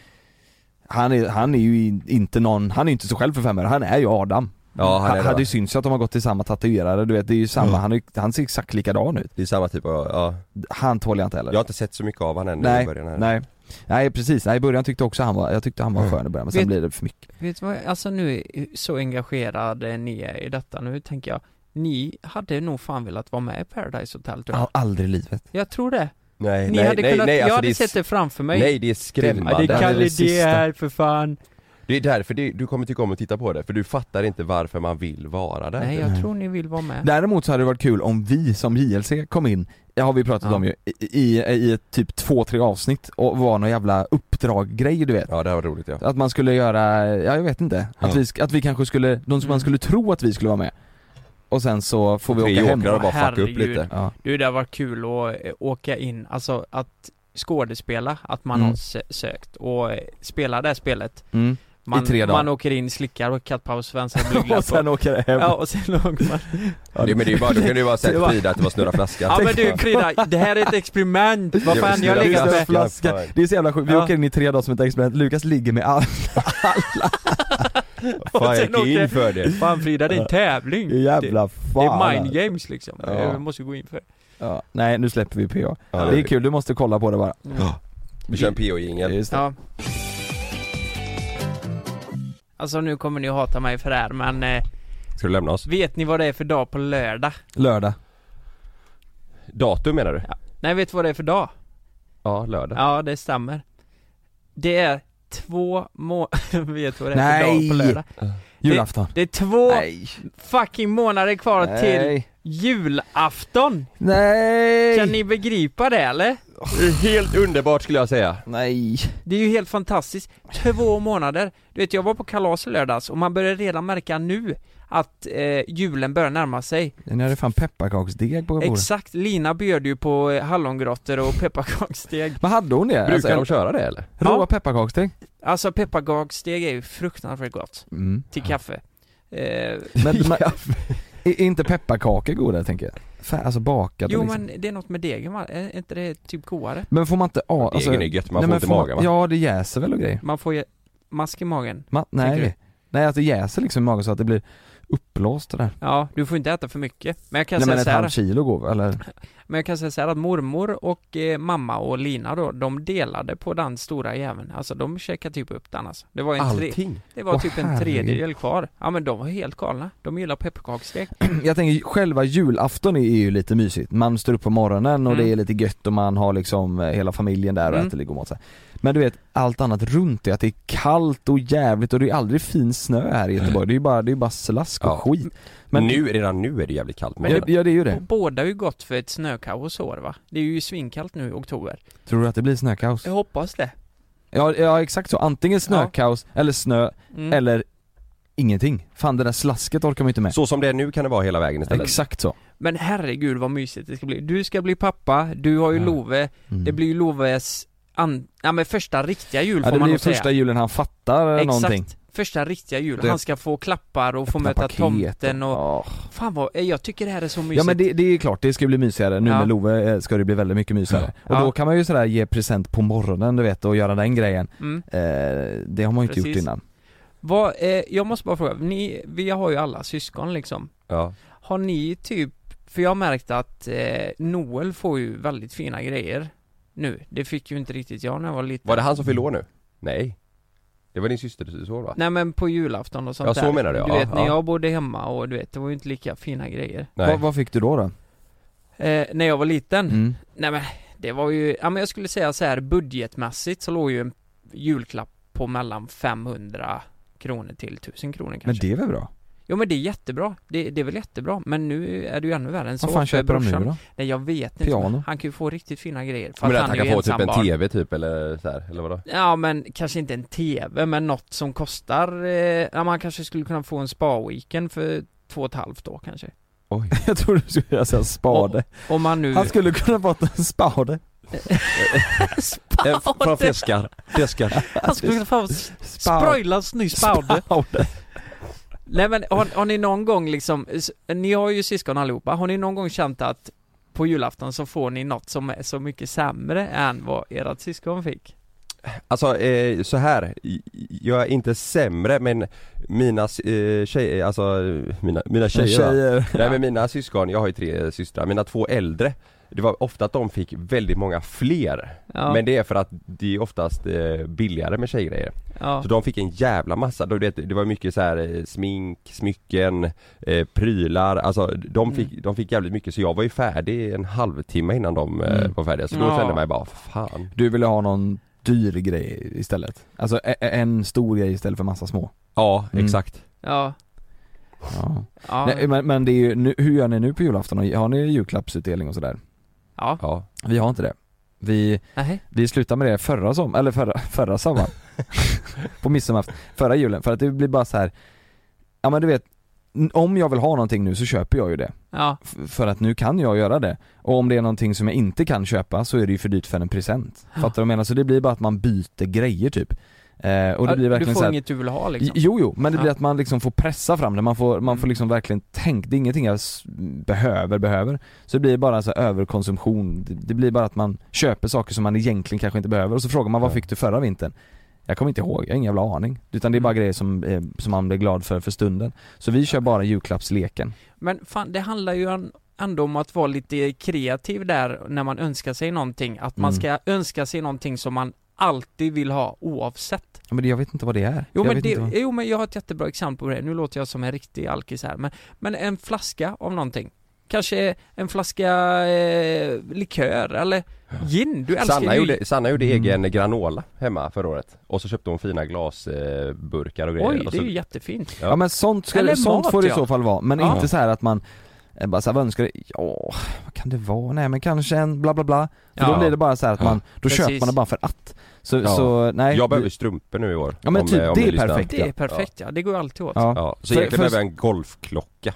S1: han är, han är ju in- inte någon, han är ju inte sig själv för fem öre, han är ju Adam.
S2: Ja, han är det, va?
S1: hade ju synts att de har gått till samma tatuerare, du vet, det är ju samma,
S2: Ja.
S1: han, är, han ser exakt likadan ut.
S2: Det är samma typ av, ja.
S1: Han tål jag inte heller.
S2: Jag har inte sett så mycket av han än i
S1: nej,
S2: början här.
S1: nej, nej precis, nej i början tyckte jag också han var, jag tyckte han var
S2: Mm.
S1: skön i början men sen
S4: Vet-
S1: blir det för mycket.
S4: Vet du vad, alltså nu, är- så engagerade ni är i detta nu tänker jag, ni hade nog fan velat vara med i Paradise Hotel tror jag.
S1: Ja, Aldrig i livet.
S4: Jag tror det.
S2: Nej,
S4: Ni
S2: nej,
S4: hade
S2: nej,
S4: kunnat,
S2: nej,
S4: jag
S2: alltså,
S4: hade
S2: det är,
S4: sett det framför mig.
S2: nej det är
S4: Ja, det
S1: det
S2: skrämmande.
S4: är
S1: här är
S4: Kalle
S1: det
S4: D
S1: sista.
S4: här för fan.
S2: Det är därför det, du kommer tycka om att titta på det, för du fattar inte varför man vill vara där. typ.
S4: Nej,
S1: Nej.
S4: jag tror ni vill vara med.
S1: Däremot så hade det varit kul om vi som JLC kom in, det har vi pratat
S4: Ja.
S1: om ju, i, i, i ett typ två, tre avsnitt och var någon jävla uppdraggrej du vet.
S2: Ja det här var roligt ja.
S1: Att man skulle göra, ja jag vet inte, att,
S2: Ja.
S1: vi, sk- att vi kanske skulle, de som
S4: Mm.
S1: man skulle tro att vi skulle vara med. Och sen så får vi
S2: Tre
S1: åka hem.
S2: åkrar och bara fucka upp
S4: Herregud.
S2: lite.
S1: Ja.
S4: Du, det har varit kul att eh, åka in, alltså att skådespela, att man
S1: Mm.
S4: har sö- sökt och eh, spela det här spelet.
S1: Mm.
S4: Man,
S1: I tre dagar.
S4: man åker in, slickar och
S1: <laughs>
S4: kattpaus, vänster
S1: och sen åka hem.
S4: Ja, och sen
S1: <laughs>
S4: åker man.
S2: Det, men det är ju bara, då kan du ju bara
S1: Det
S2: säga
S1: var-
S2: till Frida att det var snurra flaskan.
S4: Ja men du Frida, det här är ett experiment! Vad
S2: Det
S4: fan,
S2: var
S4: jag har
S2: snurra
S4: legat med...
S2: flaskan.
S1: Flaska. <laughs> Det är så jävla sjukt, vi
S4: Ja.
S1: åker in i tre dagar som ett experiment, Lukas ligger med all...
S2: Fan jag
S4: sen
S2: gick in
S4: åker-
S1: <laughs>
S2: för det.
S4: Fan Frida, det är en tävling! Det,
S1: Jävla
S4: det
S1: fan. alltså.
S4: är mind games liksom,
S1: Ja.
S4: jag måste gå in för
S1: ja. Nej nu släpper vi PA.
S2: Ja, det
S1: det är
S2: gör vi.
S1: kul, du måste kolla på det bara.
S2: Ja. Vi kör en PO-jingel.
S1: Just det.
S4: Ja. Alltså nu kommer ni att hata mig för det här men eh,
S2: Ska du lämna oss?
S4: vet ni vad det är för dag på lördag?
S1: Lördag.
S2: Datum menar du?
S4: Nej vet du vad det är för dag?
S2: Ja, lördag.
S4: Ja det stämmer Det är två må... <laughs> vet du vad det är
S1: Nej.
S4: för dag på lördag?
S1: Julafton.
S4: Det är två
S1: Nej.
S4: fucking månader kvar till julafton!
S1: Nej!
S4: Kan ni begripa det eller?
S2: Det är Helt underbart skulle jag säga.
S1: Nej.
S4: Det är ju helt fantastiskt, två månader! Du vet jag var på kalas i lördags och man börjar redan märka nu att eh, julen börjar närma sig
S1: Den hade fan pepparkaksdeg på bordet.
S4: Exakt, Lina bjöd ju på eh, hallongrottor och pepparkaksdeg
S1: Vad hade hon det?
S2: Brukar de
S1: alltså,
S2: köra det eller?
S1: råa
S4: Ja.
S1: pepparkaksdeg?
S4: Alltså pepparkaksdeg är ju fruktansvärt gott
S1: Mm.
S4: till kaffe eh,
S1: <laughs> Men, men är inte pepparkakor goda tänker jag? Fan, alltså bakade
S4: Jo
S1: liksom.
S4: men det är något med degen va? Är är inte det typ godare?
S1: Men får man inte a-
S2: Alltså,
S1: alltså,
S2: Egen är gött, man
S1: nej,
S2: får
S1: men
S2: inte magen va?
S1: Ja det jäser väl och grejer?
S4: Man får ju mask i magen
S1: Man,
S4: Tänker du?
S1: nej. Nej att det jäser liksom i magen så att det blir uppblåst och där.
S4: Ja, du får inte äta för mycket Men jag kan
S1: Nej men
S4: säga
S1: ett
S4: så här,
S1: halvt kilo går väl, eller?
S4: men jag kan säga så här att mormor och eh, mamma och Lina då, de delade på den stora jäveln Alltså de käkade typ upp den alltså Det var, en tre,
S2: Allting.
S4: det var
S1: Åh,
S4: typ en
S1: herregud.
S4: tredjedel kvar Ja men de var helt galna, de gillar pepparkaksdeg
S1: <clears throat> Jag tänker själva julafton är ju lite mysigt. Man står upp på morgonen och
S4: Mm.
S1: det är lite gött och man har liksom eh, hela familjen där och
S4: Mm.
S1: äter lite god mat så här. Men du vet, allt annat runt det, att det är kallt och jävligt och det är aldrig fin snö här i Göteborg. Det är ju bara, det är ju bara slask och
S2: Ja.
S1: skit.
S2: Men nu, redan nu är det jävligt kallt
S1: Ja,
S2: men
S1: ja det är ju det.
S4: Och båda har ju gått för ett snökaos i år va? Det är ju svinkallt nu i oktober.
S1: Tror du att det blir snökaos?
S4: Jag hoppas det.
S1: Ja, ja exakt så. Antingen snökaos, eller snö,
S4: Mm.
S1: eller ingenting. Fan det där slasket orkar man ju inte med.
S2: Så som det är nu kan det vara hela vägen istället.
S1: Exakt så.
S4: Men herregud vad mysigt det ska bli. Du ska bli pappa, du har ju
S1: Ja.
S4: Love,
S1: Mm.
S4: det blir ju Loves an... ja, men första riktiga jul
S1: ja,
S4: får
S1: det
S4: man
S1: blir ju
S4: nog säga.
S1: första julen han fattar
S4: Exakt.
S1: någonting.
S4: Första riktiga jul.
S1: Det-
S4: Han ska få klappar och få
S1: Öppna
S4: möta
S1: paket
S4: tomten och...
S1: Ja.
S4: Fan vad, eh, jag tycker det här är så mysigt.
S1: Ja men det, det är klart, det ska bli mysigare. Nu
S4: Ja.
S1: med Love eh, ska det bli väldigt mycket mysigare. Och
S4: Ja.
S1: då kan man ju sådär ge present på morgonen du vet och göra den grejen.
S4: mm.
S1: Eh, det har man ju inte gjort
S4: Precis.
S1: innan.
S4: vad, eh, jag måste bara fråga, ni, vi har ju alla syskon liksom.
S2: Ja.
S4: Har ni typ, för jag har märkt att eh, Noel får ju väldigt fina grejer nu. Det fick ju inte riktigt jag när jag var liten.
S2: Var det han som fyllde år nu? Nej Det var din systerson va?
S4: Nej men på julafton och sånt
S2: Ja,
S4: där.
S2: så menar du,
S4: Du
S2: ja,
S4: vet när
S2: ja.
S4: jag bodde hemma och du vet, det var ju inte lika fina grejer.
S1: Vad, vad fick du då då?
S4: Mm. Eh, när jag var liten,
S1: Mm.
S4: nej men det var ju, ja men jag skulle säga så här budgetmässigt så låg ju en julklapp på mellan 500 kronor till 1000 kronor kanske.
S1: Men det är väl bra?
S4: Jo men det är jättebra, det, det är väl jättebra, men nu är det ju ännu värre än så
S1: Vad fan
S4: för
S1: köper de nu
S4: brorsan.
S1: då?
S4: Nej jag vet inte,
S1: Piano?
S4: men han kan ju få riktigt fina grejer för
S2: Men
S4: att
S2: att han
S4: han, är
S2: kan
S4: ju
S2: få typ
S4: ensam
S2: en
S4: barn.
S2: TV typ eller så här, eller vadå?
S4: Ja men kanske inte en TV, men något som kostar, eh, ja man kanske skulle kunna få en spa-weekend för två och ett halvt år kanske
S2: Oj
S1: <laughs> Jag trodde du skulle säga såhär spade.
S4: Om man nu...
S1: Han skulle kunna fått en spade.
S2: Eh,
S4: Spade!
S2: Från fjäskar, fjäskar
S4: Han skulle kunna få sproilans ny spade!
S1: Spade.
S4: Nej men har, har ni någon gång liksom, s- ni har ju syskon allihopa, har ni någon gång känt att på julafton så får ni något som är så mycket sämre än vad ert syskon fick?
S2: Alltså eh, så här j- jag är inte sämre men mina eh, tjejer, alltså eh, mina, mina tjejer, va?
S1: Tjejer.
S2: Nej men mina syskon, jag har ju tre systrar, mina två äldre Det var ofta att de fick väldigt många fler
S4: Ja,
S2: Men det är för att det är oftast eh, billigare med tjejgrejer
S4: ja.
S2: Så de fick en jävla massa, Då, du vet, det var mycket så här eh, smink, smycken, eh, prylar, alltså de fick, de fick jävligt mycket så jag var ju färdig en halvtimme innan de eh,
S1: Mm.
S2: var färdiga så då
S4: Ja.
S2: kände jag mig bara, fan
S1: Du ville ha någon dyr grej istället? Alltså e- e- en stor grej istället för massa små?
S2: Ja,
S1: Mm.
S2: exakt
S4: ja,
S1: Ja.
S4: ja,
S1: Nej, men, men det är ju, nu, hur gör ni nu på julafton? Har ni julklappsutdelning och sådär?
S4: ja,
S2: Ja,
S1: Vi har inte det. Vi,
S4: nej,
S1: vi slutade med det förra som, eller förra, <laughs> förra
S4: <laughs>
S1: sommaren. på midsommarafton, förra julen. För att det blir bara så här. ja men du vet, n- om jag vill ha någonting nu så köper jag ju det.
S4: ja,
S1: F- för att nu kan jag göra det. Och om det är någonting som jag inte kan köpa så är det ju för dyrt för en present. Fattar du vad jag menar? Så det blir bara att man byter grejer typ. Eh, och det blir
S4: du
S1: verkligen
S4: får
S1: så här,
S4: inget du vill ha liksom
S1: Jo, jo, men det blir
S4: Ja.
S1: att man liksom får pressa fram det, man får, man får
S4: Mm.
S1: liksom verkligen tänka, det är ingenting jag s- behöver, behöver Så det blir bara så här överkonsumtion, det, det blir bara att man köper saker som man egentligen kanske inte behöver och så frågar man vad
S2: Ja.
S1: fick du förra vintern? Jag kommer inte ihåg, jag har ingen jävla aning Utan det är bara grejer som, eh, som man blir glad för för stunden Så vi kör bara julklappsleken
S4: Men fan, det handlar ju an- ändå om att vara lite kreativ där när man önskar sig någonting. Att man
S1: Mm.
S4: ska önska sig någonting som man alltid vill ha oavsett.
S1: ja, Men jag vet inte vad det är
S4: Jo
S1: jag
S4: men,
S1: vet
S4: det,
S1: inte vad...
S4: jo men jag har ett jättebra exempel på det. Nu låter jag som en riktig alkis här men, men en flaska av någonting. Kanske en flaska eh, likör eller gin. Du älskar
S2: Sanna
S4: ju
S2: gjorde, Sanna gjorde
S1: Mm.
S2: egen granola hemma förra året och så köpte hon fina glasburkar eh, burkar och grejer
S4: Oj,
S1: Alltså
S2: och
S4: det
S2: så,
S4: är ju jättefint.
S1: Ja men sånt, ska,
S4: Eller
S1: sånt
S4: mat,
S1: får det i
S4: ja.
S1: så fall vara, men
S4: Ja.
S1: inte så här att man eh, bara så här, vad önskar du? Ja, vad kan det vara? Nej men kanske en bla bla bla För
S4: Ja.
S1: då blir det bara så här att
S2: Ja.
S1: man, då
S4: Precis.
S1: köper man det bara för att Så,
S2: Ja.
S1: så nej
S2: Jag behöver strumpor nu i år
S1: Ja, men typ,
S2: eh,
S1: det
S2: ni
S1: är
S2: lyssnar.
S1: perfekt.
S4: Det är perfekt ja, det går ju alltid åt.
S1: ja.
S2: Ja, så
S1: För-
S2: egentligen
S1: för-
S2: behöver jag en golfklocka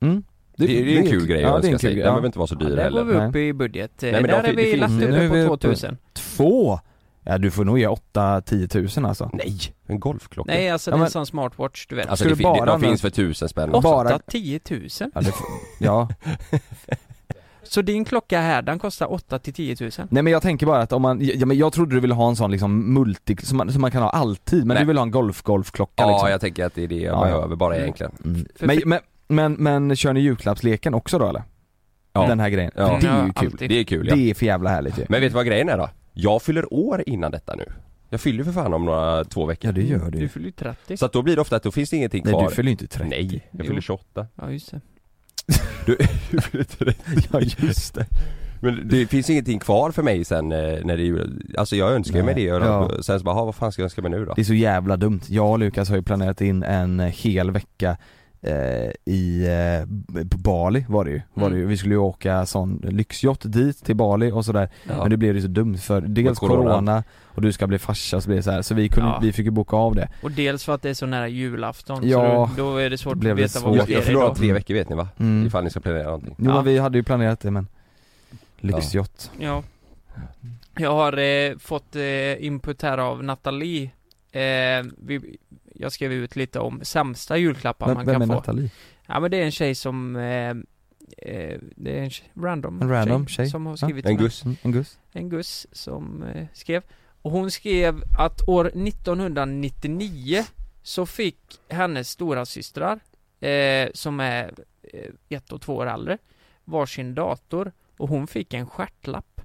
S1: Mm.
S2: Det, är- det är en kul grej
S1: ja,
S2: att
S1: det är en
S2: önska
S1: kul grej,
S2: sig, den
S1: ja.
S2: behöver inte vara så
S4: Ja,
S2: dyr
S4: där
S2: heller
S4: går vi
S1: Nej.
S4: upp i budget.
S2: men
S4: Nej,
S2: det
S4: där
S2: fin-
S4: är vi
S2: det
S4: lätt
S2: finns-
S1: nu är vi
S4: uppe på
S1: uppe-
S4: 2000.
S1: Två! Ja du får nog ge 8-10 tusen alltså
S2: Nej! En golfklocka?
S4: Nej alltså
S1: Ja,
S4: det är en
S1: men-
S4: sån smartwatch du vet.
S2: Alltså
S1: Ska
S2: det,
S1: du
S2: fin- det,
S1: bara
S2: de
S1: använda-
S2: finns för tusen spänn
S1: Och-
S2: också.
S1: Bara-
S4: Bara 10 000?
S1: Ja, det får, ja.
S4: Så din klocka här, den kostar 8 till 10 000?
S1: nej men jag tänker bara att om man, ja, men jag trodde du ville ha en sån liksom multi, som man, som man kan ha alltid, men
S2: Nej.
S1: du vill ha en golf-golfklocka
S2: Ja
S1: liksom
S2: jag tänker att det är det jag
S1: Ja, ja.
S2: behöver bara egentligen
S1: mm.
S4: För-
S1: men, men, men, men kör ni julklappsleken också då eller?
S2: Ja.
S1: Den här grejen,
S2: Ja.
S1: det är ju
S4: Ja,
S1: kul
S4: alltid.
S2: Det är kul ja.
S1: Det är för jävla härligt ju
S2: Men vet du vad grejen är då? Jag fyller år innan detta nu Jag fyller för fan om några två veckor
S1: Ja det gör du
S4: Du
S1: ju
S4: fyller ju 30.
S2: Så att då blir det ofta att då finns det ingenting
S1: Nej
S2: kvar
S1: du fyller ju inte 30
S2: Nej, jag
S4: Jo.
S2: fyller 28
S4: Ja just det.
S2: Du fyller 30
S1: Ja just det
S2: Men det finns ingenting kvar för mig sen eh, när det är jul Alltså jag önskar ju mig
S1: Nej.
S2: det och
S1: Ja.
S2: sen så bara, "Ha, vad fan ska jag önska mig nu då?
S1: Det är så jävla dumt. Jag och Lukas har ju planerat in en hel vecka eh, i, eh, b- på Bali var det ju. Var
S2: Mm.
S1: det ju. Vi skulle ju åka sån lyxjott dit till Bali och sådär.
S4: Ja.
S1: Men det blev ju så dumt för dels
S2: corona.
S1: corona. och du ska bli farsa och så blir det så här. Så vi, kunde,
S4: Ja.
S1: vi fick ju boka av det.
S4: Och dels för att det är så nära julafton,
S1: Ja,
S4: så då, då är det svårt
S1: blev
S4: att
S1: det
S4: veta
S1: svårt.
S4: vad
S2: Jag,
S4: du
S2: jag
S4: är
S2: fyller om
S4: idag.
S2: tre veckor vet ni va?
S1: Mm.
S2: Ifall ni ska planera någonting
S1: Jo
S4: Ja.
S1: men vi hade ju planerat det men lyxjott.
S4: Ja. Jag har eh, fått eh, input här av Nathalie. Eh, vi, jag skrev ut lite om sämsta julklappar
S1: Vem,
S4: man
S1: vem är
S4: kan få.
S1: Nathalie?
S4: Ja men det är en tjej som eh, eh, det är en tjej, random,
S1: En random tjej.
S4: som har
S1: Ja.
S4: skrivit
S2: En
S4: till mig.
S2: guss?
S1: Mm, en Gus?
S4: en guss som eh, skrev Och hon skrev att år 1999 så fick hennes stora systrar eh, som är eh, ett och två år äldre varsin dator och hon fick en stjärtlapp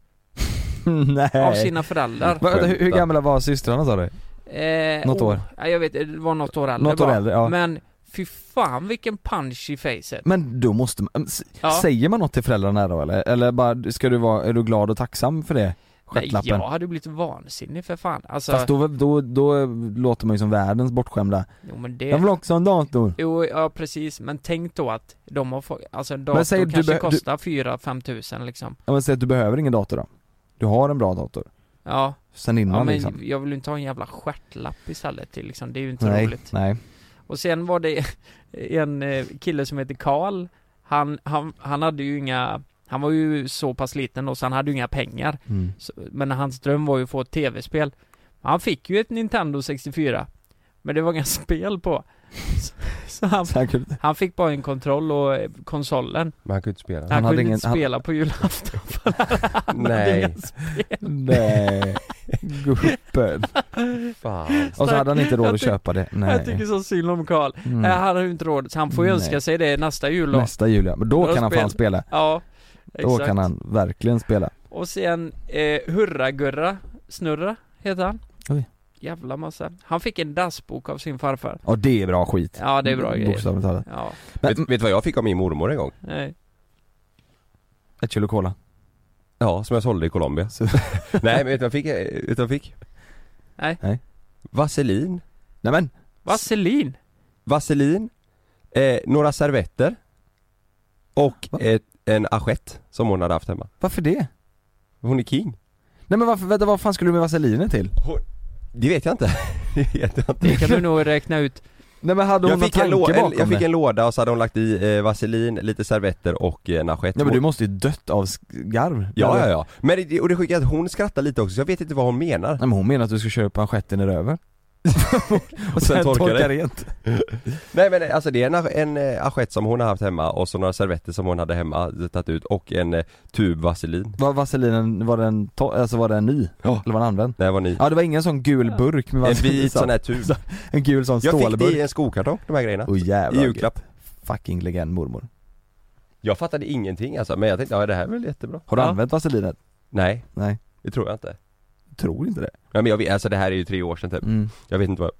S4: av
S1: Nej.
S4: sina föräldrar.
S1: Va, hur, hur
S2: Skämtar.
S1: gamla var systrarna sa du?
S4: Eh,
S1: Något
S4: åh,
S1: år.
S4: ja, jag vet, det var något år äldre
S1: Något år
S4: bara.
S1: äldre, ja.
S4: Men fy fan vilken punch i facet.
S1: Men då måste man, s-
S4: Ja.
S1: säger man något till föräldrarna då eller? Eller bara, ska du vara, är du glad och tacksam för det?
S4: Nej, alltså.
S1: Stjärtlappen?
S4: jag hade blivit vansinnig för fan. Alltså,
S1: Fast då, då, då låter man ju som världens bortskämda.
S4: jo men det...
S1: Jag vill också ha en dator.
S4: Jo, ja precis, men tänk då att de har fått, alltså en
S1: Men säg
S4: dator
S1: du
S4: kanske
S1: be- du-
S4: kostar 4-5 tusen liksom
S1: Ja men säg att du behöver ingen dator då. Du har en bra dator.
S4: Ja,
S1: Sen innan
S4: ja men
S1: liksom.
S4: jag vill ju inte ha en jävla stjärtlapp istället till liksom, det är ju inte
S1: Nej,
S4: roligt
S1: nej.
S4: Och sen var det <laughs> en eh, kille som heter Karl han, han, han hade ju inga, han var ju så pass liten då så han hade ju inga pengar
S1: Mm.
S4: så, Men hans dröm var ju att få ett tv-spel Han fick ju ett Nintendo 64 Men det var inga <laughs> spel på Så, så han, <laughs>
S1: Säkert.
S4: han fick bara en kontroll och eh, konsolen
S2: Men han kunde inte spela.
S4: Han,
S1: hade
S4: kunde
S1: ingen-
S4: inte
S1: han-
S4: spela på <laughs> julafton för han
S2: <laughs>
S4: hade
S2: Nej.
S4: inga spel.
S1: Nej. Gubben.
S2: Fan.
S1: Och så hade han inte råd
S4: Jag
S1: att
S4: tycker-
S1: köpa det.
S4: Jag tycker
S1: Nej.
S4: så synd om Karl.
S1: Mm.
S4: Eh, Han har ju inte råd, så han får ju
S1: Nej.
S4: önska sig det nästa jul då.
S1: Nästa jul ja. Men då
S4: Bra
S1: kan han fan
S4: spel.
S1: spela.
S4: Ja,
S1: Då
S4: exakt.
S1: kan han verkligen spela.
S4: Och sen eh, Hurra-Gurra, Snurra heter han.
S1: Oj.
S4: Jävla massa. Han fick en dassbok av sin farfar.
S1: Ja det är bra skit.
S4: Ja, det är bra grejer.
S1: Bokstavligt talat.
S4: Ja,
S1: Men-
S2: Vet, vet du vad jag fick av min mormor en gång?
S4: nej.
S1: Ett kilo cola.
S2: Ja, som jag sålde i Colombia.
S1: Så-
S2: <laughs> Nej men vet du vad jag fick? eh, Vet du vad jag fick?
S4: Nej.
S1: Nej.
S2: Vaselin,
S1: Nej men.
S4: Vaselin!
S2: vaselin, eh, några servetter och
S1: Va?
S2: ett, en assiett som hon hade haft hemma.
S1: Varför det?
S2: Hon är king.
S1: Nej men varför, vänta vad fan skulle du med vaselinen till?
S2: Det vet jag inte. <laughs> Det vet jag inte.
S4: Det kan du nog räkna ut.
S1: Nej men hade hon
S2: Jag
S1: någon
S2: fick, en
S1: tanke
S2: lå-
S1: bakom
S2: en, jag fick
S1: det?
S2: en låda och så hade hon lagt i eh, vaselin, lite servetter och eh, en assiett.
S1: Nej men du
S2: Hon-
S1: måste ju dött av sk- garv.
S2: Ja,
S1: Eller?
S2: ja, ja. Men det, och det skickade att hon skrattar lite också, så jag vet inte vad hon menar.
S1: Nej men hon menar att du ska köpa en stjärten i
S2: <laughs>
S1: röven. och sen, torka,
S2: torka det.
S1: rent.
S2: Nej men eh, alltså det är en, en eh, assiett som hon har haft hemma och så några servetter som hon hade hemma, eh, tagit ut och en eh, tub vaselin.
S1: Var vaselinen, var den, to- alltså var den ny?
S2: Ja.
S1: Eller var den använd?
S2: Där var ni.
S1: Ja det var ingen sån gul burk med
S2: En
S1: vaselin
S2: vit
S1: så-
S2: sån här tub.
S1: En gul sån
S2: Jag fick det
S1: stålburk.
S2: i en skokartong, de här grejerna.
S1: Åh
S2: I
S1: jävlar.
S2: julklapp.
S1: Fucking legend mormor.
S2: Jag fattade ingenting alltså, men jag tänkte ja det här är väl jättebra.
S1: Har du
S4: Ja.
S1: använt vaselinet?
S2: Nej,
S1: Nej,
S2: det tror jag inte.
S1: tror inte det.
S2: Nej men jag vet, alltså det här är ju tre år sedan typ.
S1: Mm.
S2: Jag vet inte vad,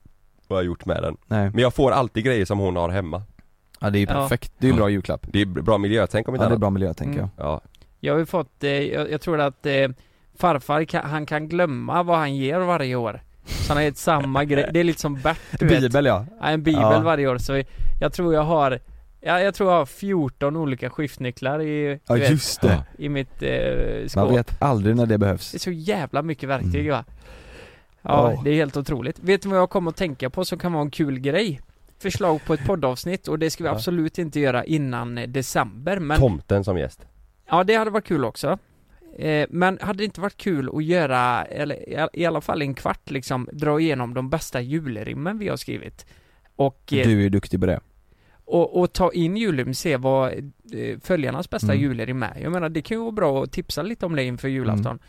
S2: vad jag har gjort med den.
S1: Nej.
S2: Men jag får alltid grejer som hon har hemma.
S1: Ja det är ju
S4: Ja.
S1: perfekt, det är ju en bra julklapp.
S2: Det är bra miljötänk om inte
S1: Ja det är
S2: annat.
S1: bra miljö tänker
S4: Mm.
S1: jag.
S2: Ja.
S4: Jag har ju fått, eh, jag, jag tror att eh, farfar kan, han kan glömma vad han ger varje år Så han har gett samma grej, det är lite som Bert du vet,
S1: Bibel ja.
S4: ja, en bibel
S1: Ja.
S4: varje år så vi- jag tror jag har Ja, jag tror jag har 14 olika skiftnycklar i,
S1: Ja
S4: du vet,
S1: just det.
S4: i mitt eh, skåp
S1: Man vet aldrig när det behövs.
S4: Det är så jävla mycket verktyg va Ja,
S1: Ja.
S4: det är helt otroligt. Vet du vad jag kom att tänka på som kan vara en kul grej? Förslag på ett poddavsnitt och det ska vi
S2: Ja.
S4: absolut inte göra innan eh, december men
S2: Tomten som gäst.
S4: Ja, det hade varit kul också. Eh, men hade det inte varit kul att göra, eller i all- i alla fall en kvart liksom, dra igenom de bästa julrimmen vi har skrivit? Och, eh,
S1: Du är ju duktig på det.
S4: och, och ta in julrim, se vad eh, följarnas bästa
S1: Mm.
S4: julrim är. Jag menar, det kan ju vara bra att tipsa lite om det inför julafton.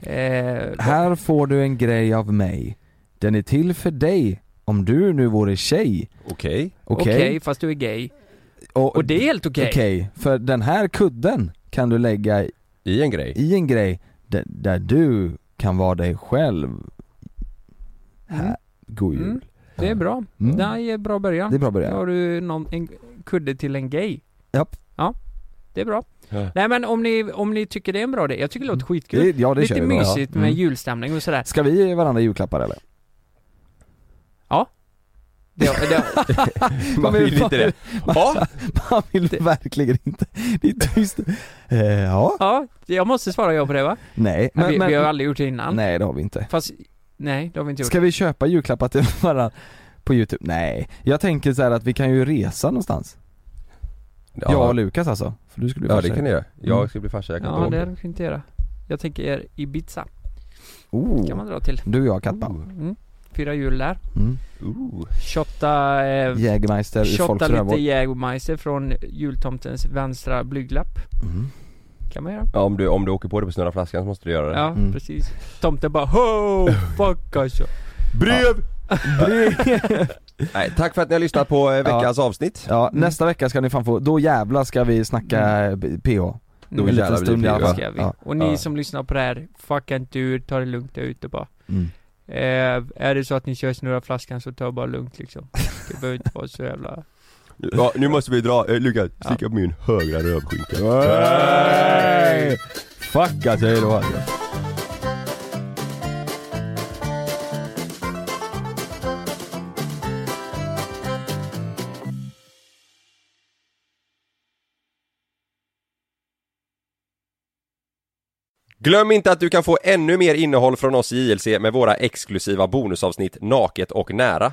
S4: Eh,
S1: Här får du en grej av mig. Den är till för dig om du nu vore tjej.
S2: Okej.
S1: Okej?
S4: fast du är gay. Och det är helt okej.
S1: Okej, för den här kudden kan du lägga
S2: I en grej.
S1: i en grej där, där du kan vara dig själv.
S4: Mm.
S1: God jul.
S4: Mm. Det är bra.
S1: Mm.
S4: Det är bra början.
S1: Det är bra början.
S4: Då har du någon, en kudde till en gay.
S1: Japp.
S4: Ja, det är bra.
S1: <laughs>
S2: Ja.
S4: Nej men om ni, om ni tycker det är en bra idé, jag tycker det låter skitkul.
S1: Det, ja det kör
S4: Lite
S1: vi bara.
S4: mysigt
S1: Ja.
S4: med
S1: Mm.
S4: julstämning
S1: <laughs>
S4: och sådär.
S1: Ska vi ge varandra julklappar eller?
S4: Det, det,
S1: <laughs> Men
S2: Man vill
S1: fan-
S2: inte det. Ja,
S1: Man vill verkligen inte. Det är tyst. Eh, ja,
S4: ja, jag måste svara ja på det va?
S1: nej. Men,
S4: vi,
S1: men,
S4: vi har aldrig gjort det innan.
S1: nej det har vi inte.
S4: Fast, nej det har vi inte gjort.
S1: Ska vi köpa julklappar till <laughs> varandra på youtube? Nej, jag tänker så här att vi kan ju resa någonstans. Jag och
S2: ja,
S1: Lukas alltså. För du skulle bli
S2: ja
S1: farsa. Mm.
S2: det kan ni göra. Jag ska bli farsa, jag kan
S4: ja
S2: inte
S4: det
S2: åka.
S4: hade vi inte göra. Jag tänker Ibiza, kan
S1: oh.
S4: man dra till.
S1: Du och jag Katpa.
S4: Mm. Fyra jul där.
S1: Mm.
S2: Ooh.
S4: Shotta, eh,
S1: Jägermeister ur folks
S4: shotta lite
S1: rövhål.
S4: Jägermeister från jultomtens vänstra blygdlapp.
S1: Mm.
S4: Kan man göra.
S2: Ja, om, du, om du åker på det på snurra flaskan så måste du göra det.
S4: Ja,
S1: Mm.
S4: precis. Tomten
S1: <laughs>
S4: bara ho, fuck alltså.
S2: Brev! Nej, tack för att ni har lyssnat på eh, veckans avsnitt.
S4: Mm.
S1: Ja, nästa vecka ska ni fan få, då jävla ska vi snacka eh, PH.
S2: Då
S1: en liten
S2: jävlar
S4: nu
S2: blir det
S1: stund i alla
S2: pirr, va?
S1: fall.
S4: ska vi.
S1: Ja.
S4: Och ni
S2: ja.
S4: som lyssnar på det här, fucka inte ur, ta det lugnt där ute bara.
S1: Mm.
S4: Eh, är det så att ni kör snurra flaskan så ta bara lugnt liksom. Det behöver inte vara så jävla...
S2: Ja, nu måste vi dra, eh, Lukas,
S4: Ja.
S2: slicka på min högra rövskinka
S1: Hey! Fuck att jag är då alltså.
S2: Glöm inte att du kan få ännu mer innehåll från oss i JLC med våra exklusiva bonusavsnitt Naket och nära.